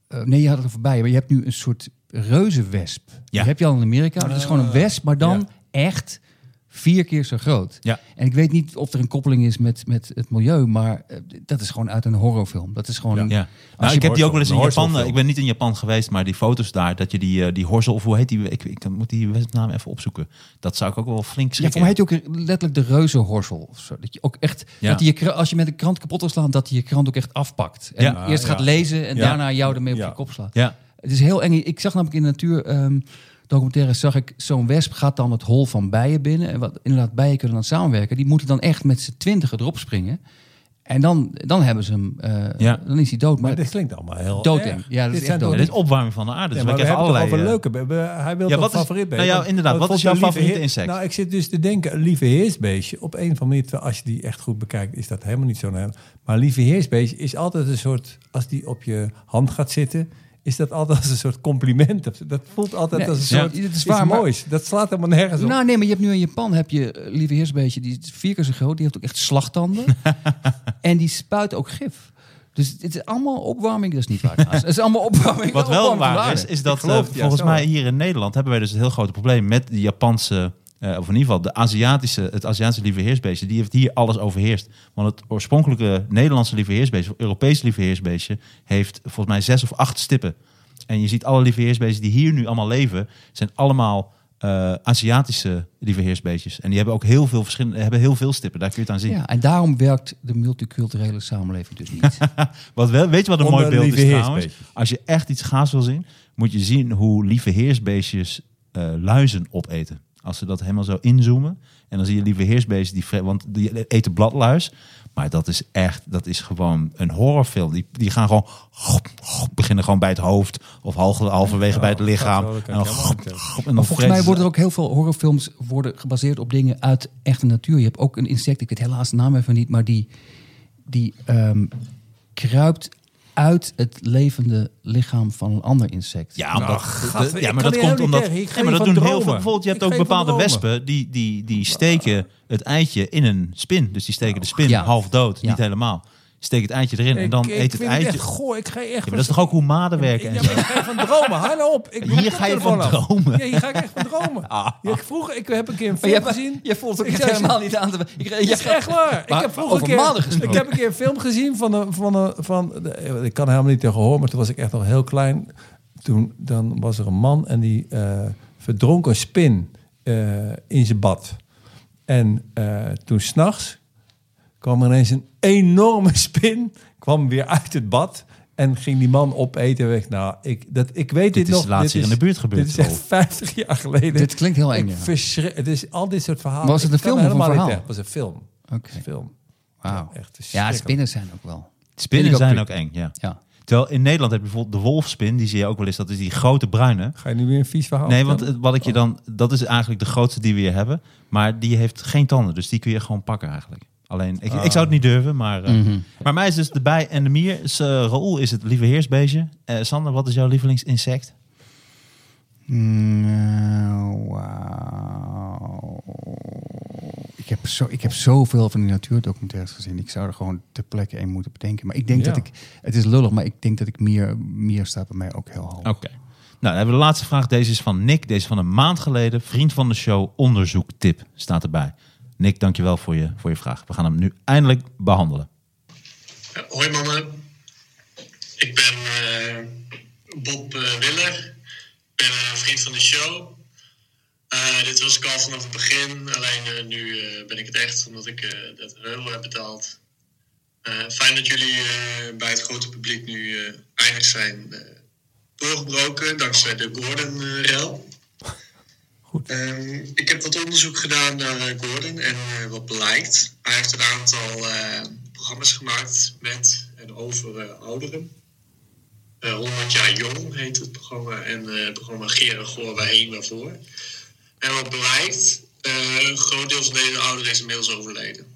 S5: eh, nee, je had het over bijen. Maar je hebt nu een soort reuzenwesp. Die
S4: Ja. Ah,
S5: heb je al in Amerika. Dat is gewoon een wesp, maar dan echt vier keer zo groot.
S4: Ja.
S5: En ik weet niet of er een koppeling is met, met het milieu. Maar eh, dat is gewoon uit een horrorfilm. Dat is gewoon...
S4: Ja.
S5: Als
S4: Nou,
S5: je
S4: ik heb die ook wel eens in
S3: een
S4: Japan. eh,
S3: horzelfilm.
S4: Ik ben niet in Japan geweest, maar die foto's daar, dat je die, eh, die horzel, of hoe heet die? Ik, ik moet die westnaam even opzoeken. Dat zou ik ook wel flink
S5: Ja,
S4: schrikken.
S5: voor mij heet hij ook letterlijk de reuzenhorsel. Of zo. Dat je ook echt,
S4: Ja.
S5: dat die je, kra- als je met een krant kapot wil slaan, dat hij je krant ook echt afpakt. En
S4: Ja.
S5: eerst
S3: Ah,
S5: gaat
S3: ja.
S5: lezen en
S3: Ja.
S5: daarna jou ermee op
S3: Ja.
S5: je kop slaat.
S3: Oh,
S4: Ja.
S5: Het is heel eng. Ik zag namelijk in de natuur ehm, documentaires zag ik zo'n wesp gaat dan het hol van bijen binnen. En wat inderdaad bijen kunnen dan samenwerken. Die moeten dan echt met z'n twintigen erop springen. En dan, dan hebben ze hem, eh,
S4: Ja.
S5: dan is hij dood. Maar,
S3: Maar dit klinkt allemaal heel
S5: Doodeng.
S3: erg.
S5: Ja, dat
S3: dit
S5: is
S3: zijn
S5: echt
S3: toch
S5: doodeng.
S4: dit
S3: niet-
S4: is opwarming van de aarde.
S3: Ja,
S4: dus we
S3: maar we
S4: krijgen
S3: hebben het
S4: allerlei...
S3: over
S4: eh,
S3: leuke. we- we- Hij wil
S4: Ja,
S3: toch
S4: wat is-
S3: favoriet
S4: nou ja, inderdaad, wat is jouw favoriete insect?
S3: Nou, ik zit dus te denken, een lieve heersbeestje. Op een of andere manier, als je die echt goed bekijkt, is dat helemaal niet zo'n... heel- Maar lieve heersbeestje is altijd een soort... Als die op je hand gaat zitten, is dat altijd als een soort compliment. Of zo. Dat voelt altijd
S5: Nee,
S3: als een
S5: ja,
S3: soort
S5: dit is
S3: iets
S5: waar, maar-
S3: moois. Dat slaat helemaal nergens op.
S5: Nou nee, maar je hebt nu in Japan, heb je, eh, lieve heersbeestje, die is vier keer zo groot. Die heeft ook echt slagtanden. en die spuit ook gif. Dus het is allemaal opwarming. Dat is niet waar. trouwens. Het is allemaal opwarming.
S4: Wat wel
S5: opwarming van de
S4: waar
S5: aarde.
S4: is, is dat
S3: geloof
S4: eh,
S3: het, ja,
S4: volgens
S3: zo.
S4: mij hier in Nederland hebben wij dus een heel groot probleem met de Japanse, eh, of in ieder geval de Aziatische, het Aziatische lieveheersbeestje. Die heeft hier alles overheerst. Want het oorspronkelijke Nederlandse lieveheersbeestje, of Europese lieveheersbeestje, heeft volgens mij zes of acht stippen. En je ziet alle lieveheersbeestjes die hier nu allemaal leven, zijn allemaal eh, Aziatische lieveheersbeestjes. En die hebben ook heel veel verschillende, hebben heel veel stippen. Daar kun je het aan zien.
S5: Ja, en daarom werkt de multiculturele samenleving dus niet.
S4: Wat wel, weet je wat een
S3: Onder
S4: mooi beeld
S3: lieve
S4: is trouwens?
S3: heersbeestjes.
S4: Als je echt iets gaas wil zien, moet je zien hoe lieve heersbeestjes eh, luizen opeten. Als ze dat helemaal zo inzoomen. En dan zie je lieve heersbeestjes, die, vre- want die eten bladluis. Maar dat is echt, dat is gewoon een horrorfilm. Die, die gaan gewoon, beginnen gewoon bij het hoofd. Of halve- halverwege bij het lichaam.
S3: dat wel, dat kan
S4: en dan,
S3: ik helemaal niet tegen.
S4: en dan
S5: Volgens
S4: vreten
S5: mij
S4: ze-
S5: worden er ook heel veel horrorfilms worden gebaseerd op dingen uit echte natuur. Je hebt ook een insect, ik weet helaas de naam even niet, maar die, die ehm, kruipt uit het levende lichaam van een ander insect.
S4: Ja, omdat,
S3: gadver,
S4: Nou, dat-
S3: ik
S4: ja,
S3: kan
S4: maar dat
S3: hier helemaal
S4: komt
S3: niet
S4: omdat.
S3: tegen. Ik
S4: Nee,
S3: geef
S4: maar dat
S3: van
S4: doen heel
S3: dromen.
S4: veel. Bijvoorbeeld, je hebt
S3: Ik
S4: ook
S3: geef van
S4: bepaalde
S3: dromen.
S4: wespen die, die, die steken het eitje in een spin. Dus die steken de spin
S5: Ja.
S4: half dood,
S5: Ja.
S4: niet helemaal. Steek het eitje erin en dan
S3: Ik- ik
S4: eet het
S3: vind het
S4: eitje.
S3: echt goor, ik ga echt...
S4: Ja, maar dat is toch ook hoe maden werken en
S3: Ja,
S4: zo.
S3: maar ik ga van dromen. Hou nou op. Ik doe
S4: Hier
S3: mijn
S4: ga je
S3: koptelefoon
S4: van
S3: af.
S4: dromen.
S3: Ja, hier ga ik echt van dromen. Ja, ik vroeg, ik heb een keer een
S5: Ah. Maar
S3: film
S5: jij,
S3: gezien.
S5: jij voelt ook
S3: Ik
S5: echt
S3: zei-
S5: helemaal niet aan te... Ik,
S3: Het is echt waar. Ik
S5: Maar
S3: heb vroeger
S5: over
S3: een keer,
S5: maanden gesproken.
S3: ik heb een keer een film gezien van een, van een, van de- ik kan helemaal niet tegen horen, maar toen was ik echt nog heel klein. Toen dan was er een man en die eh, verdronk een spin eh, in zijn bad. En eh, toen s'nachts kwam er ineens een enorme spin, kwam weer uit het bad en ging die man opeten weg. Nou, ik, dat, ik weet dit,
S4: is
S3: nog.
S4: laatst hier in de buurt gebeurd,
S3: Dit is echt
S4: Rolf.
S3: 50 jaar geleden.
S5: Dit klinkt heel eng,
S3: Ik
S5: ja.
S3: verschri- Het is al dit soort verhalen.
S5: Was het
S3: Ik
S5: een
S3: kan
S5: film of een
S3: helemaal niet
S5: verhaal?
S3: tegen. Het was een film.
S5: Oké.
S3: Een film.
S5: Wauw.
S3: Ja, echt
S5: Ja,
S3: verschrikkelijk.
S5: spinnen zijn ook wel.
S4: Spinnen
S5: Vind ik ook
S4: zijn ook
S5: creepy.
S4: eng, ja.
S5: Ja.
S4: Terwijl in Nederland heb je bijvoorbeeld de wolfspin, die zie je ook wel eens. Dat is die grote bruine.
S3: Ga je nu weer een vies verhaal
S4: Nee, want
S3: vertellen?
S4: het- wat ik je dan, dat is eigenlijk de grootste die we hier hebben. Maar die heeft geen tanden, dus die kun je gewoon pakken eigenlijk. Alleen, ik, ik zou het niet
S3: Oh.
S4: durven, maar, eh,
S3: Mhm.
S4: maar mij is dus de bij en de mier. Is, eh, Raoul is het lieve heersbeestje. Eh, Sander, wat is jouw lievelingsinsect?
S5: Nou, wauw. Ik heb, zo, ik heb zoveel van die natuurdocumentaires gezien. Ik zou er gewoon ter plekke één moeten bedenken. Maar ik denk
S3: Ja.
S5: dat ik... Het is lullig, maar ik denk dat ik meer... Meer staat bij mij ook heel hoog.
S4: Oké. Nou, dan hebben we de laatste vraag. Deze is van Nick. Deze is van een maand geleden. Vriend van de show, onderzoektip staat erbij. Nick, dankjewel voor je, voor je vraag. We gaan hem nu eindelijk behandelen.
S10: Eh, Hoi mannen, ik ben eh, Bob eh, Willer. Ik ben eh, vriend van de show. Eh, dit was ik al vanaf het begin, alleen eh, nu eh, ben ik het echt omdat ik eh, dat heel heb betaald. Eh, fijn dat jullie eh, bij het grote publiek nu eh, eindelijk zijn eh, doorgebroken dankzij de Gordon-rel.
S3: Goed.
S10: Ehm, ik heb wat onderzoek gedaan naar eh, Gordon en eh, wat blijkt. Hij heeft een aantal eh, programma's gemaakt met en over eh, ouderen. Eh 100 jaar jong heet het programma en eh, het programma Geren Goor Waarheen Waarvoor. En wat blijkt, eh, een groot deel van deze ouderen is inmiddels overleden.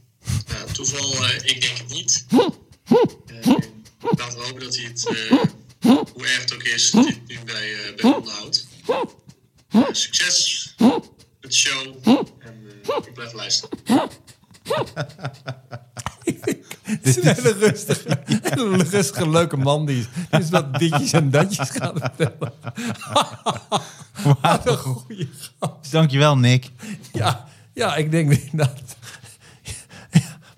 S10: Nou, toeval, eh, ik denk het niet. Eh, laten we hopen dat hij het, eh, hoe erg het ook is, dat hij het nu bij, eh bij onderhoudt. Succes met de show
S9: uh,
S10: en eh, ik blijf luisteren.
S3: Het is een hele rustige, hele rustige, leuke man die is, die is wat ditjes en datjes gaat vertellen. Wat een goeie gast.
S4: Dankjewel, Nick.
S3: Ja, ja, ik denk inderdaad.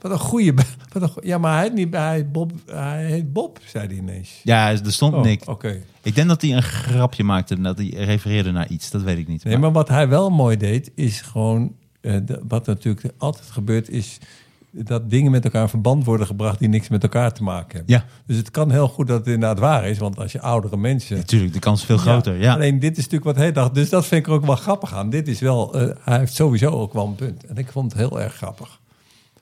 S3: Wat een goeie. be- Wat een goeie- ja, maar hij heet, niet, hij, heet Bob, hij heet Bob, zei hij ineens.
S4: Ja, er stond
S3: Oh,
S4: Nick.
S3: Oké.
S4: Ik denk dat hij een grapje maakte en dat hij refereerde naar iets. Dat weet ik niet.
S3: Nee, maar wat hij wel mooi deed, is gewoon... eh, de- wat natuurlijk altijd gebeurt, is dat dingen met elkaar in verband worden gebracht... die niks met elkaar te maken hebben.
S4: Ja.
S3: Dus het kan heel goed dat het inderdaad waar is. Want als je oudere mensen...
S4: Natuurlijk, de kans is veel groter. Ja.
S3: Alleen dit is natuurlijk wat hij dacht. Dus dat vind ik er ook wel grappig aan. Dit is wel... eh, hij heeft sowieso ook wel een punt. En ik vond het heel erg grappig.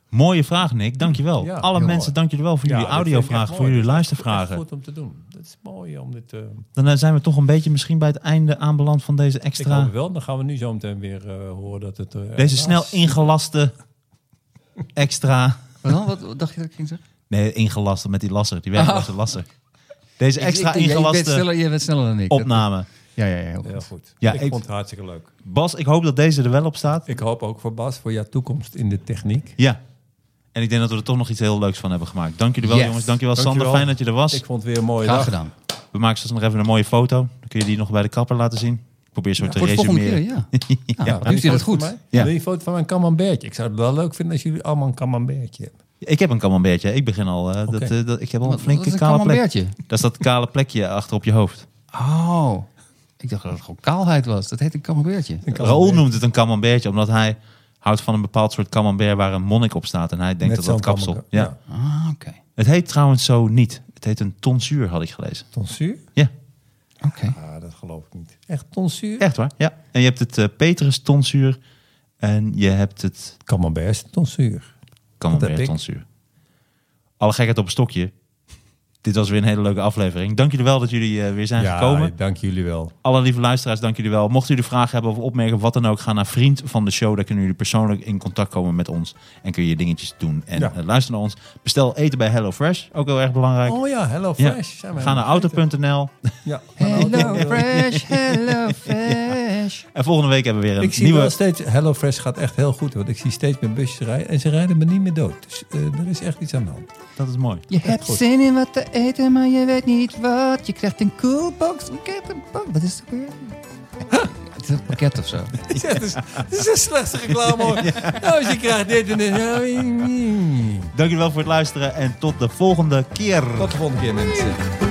S4: Mooie vraag, Nick. Dankjewel.
S3: Ja,
S4: Alle
S3: heel
S4: mensen,
S3: mooi.
S4: dank jullie wel voor
S3: Ja,
S4: jullie
S3: dat vind ik echt
S4: audiovragen,
S3: mooi.
S4: voor jullie
S3: Dat is echt
S4: luistervragen.
S3: goed om te doen. Dat is mooi om dit... eh,
S4: Dan eh, zijn we toch een beetje misschien bij het einde aanbeland van deze
S3: ik
S4: extra...
S3: hoop wel. Dan gaan we nu zo meteen weer eh, horen dat het... eh,
S4: Deze
S3: helaas-
S4: snel ingelaste extra...
S5: Wat, dan? Wat- wat dacht je dat ik ging zeggen?
S4: Nee, ingelaste met die lasser. Die werkloze lasser. Deze extra
S5: Ik- ik- jij- Je bent
S4: ingelaste
S5: sneller, je bent sneller dan ik. Dat-
S4: opname.
S5: Ja, ja, ja. heel goed.
S3: Heel goed.
S4: Ja,
S3: ik,
S4: ik-
S3: vond het hartstikke leuk.
S4: Bas, ik hoop dat deze er wel op staat.
S3: Ik hoop ook voor Bas, voor jouw toekomst in de techniek.
S4: Ja. En ik denk dat we er toch nog iets heel leuks van hebben gemaakt. Dank jullie wel,
S5: Yes.
S4: jongens. Dank je wel, Sander.
S3: Dankjewel.
S4: Fijn dat je er was.
S3: Ik vond het weer een mooie
S5: Graag
S3: dag.
S5: gedaan.
S4: We maken straks nog even een mooie foto. Dan kun je die nog bij de kapper laten zien. Ik probeer zo te
S5: Voor de volgende
S4: resumeren.
S5: keer, ja. ja,
S3: Wil
S5: nu
S3: je
S5: zit het
S3: foto
S5: goed.
S3: van mij?
S4: Ja.
S3: Wil je een foto van mijn camembertje? Ik zou het wel leuk vinden als jullie allemaal een camembertje hebben.
S4: Ik heb een camembertje. Ik begin al. eh, dat, eh, dat, ik heb al een
S5: Wat-
S4: flinke
S5: wat is een
S4: kale plek.
S5: camembertje?
S4: Dat is dat kale plekje achter op je hoofd.
S5: Oh, ik dacht dat het gewoon kaalheid was. Dat heet een camembertje.
S4: Raoul noemt het een camembertje, omdat hij houdt van een bepaald soort camembert waar een monnik op staat. En hij
S3: Met
S4: denkt dat dat
S3: zo'n
S4: kapsel...
S3: camembert,
S4: Ja.
S3: ja.
S5: Ah, oké.
S4: Het heet trouwens zo niet. Het heet een tonsuur, had ik gelezen.
S3: Tonsuur?
S4: Ja,
S5: Oké.
S3: Ah, dat geloof ik niet. Echt tonsuur?
S4: echt waar. Ja. En je hebt het eh, Petrus tonsuur en je hebt het
S3: Camembert is tonsuur.
S4: camembert
S3: heb ik.
S4: tonsuur. Alle gekheid op een stokje. Dit was weer een hele leuke aflevering. Dank jullie wel dat jullie eh, weer zijn gekomen.
S3: dank jullie wel.
S4: Alle lieve luisteraars, dank jullie wel. Mochten jullie vragen hebben of opmerkingen of wat dan ook, ga naar Vriend van de Show. Daar kunnen jullie persoonlijk in contact komen met ons. En kun je dingetjes doen. En
S3: Ja.
S4: eh, luister naar ons. Bestel eten bij HelloFresh. Ook heel erg belangrijk.
S3: Oh ja, hello
S4: Ja.
S3: fresh. Zijn we
S4: Ga naar
S3: helemaal vergeten.
S4: auto.nl.
S3: Ja.
S5: Hello nou, fresh, hello fresh.
S4: En volgende week hebben we weer een
S3: Ik zie
S4: nieuwe...
S3: wel steeds, hello fresh gaat echt heel goed. Want ik zie steeds meer busjes rijden en ze rijden me niet meer dood. Dus eh, er is echt iets aan de hand.
S4: Dat is mooi.
S5: Je hebt
S3: goed.
S5: zin in wat te eten, maar je weet niet wat. Je krijgt een coolbox, je krijgt een box. Wat is het ook weer? Het is een pakket of zo.
S3: Het is echt een- het is de slechtste reclame hoor. Nou, als je krijgt dit en dit. Ja, mm, mm.
S4: Dank jullie wel voor het luisteren. En tot de volgende keer.
S3: Tot de volgende keer mensen.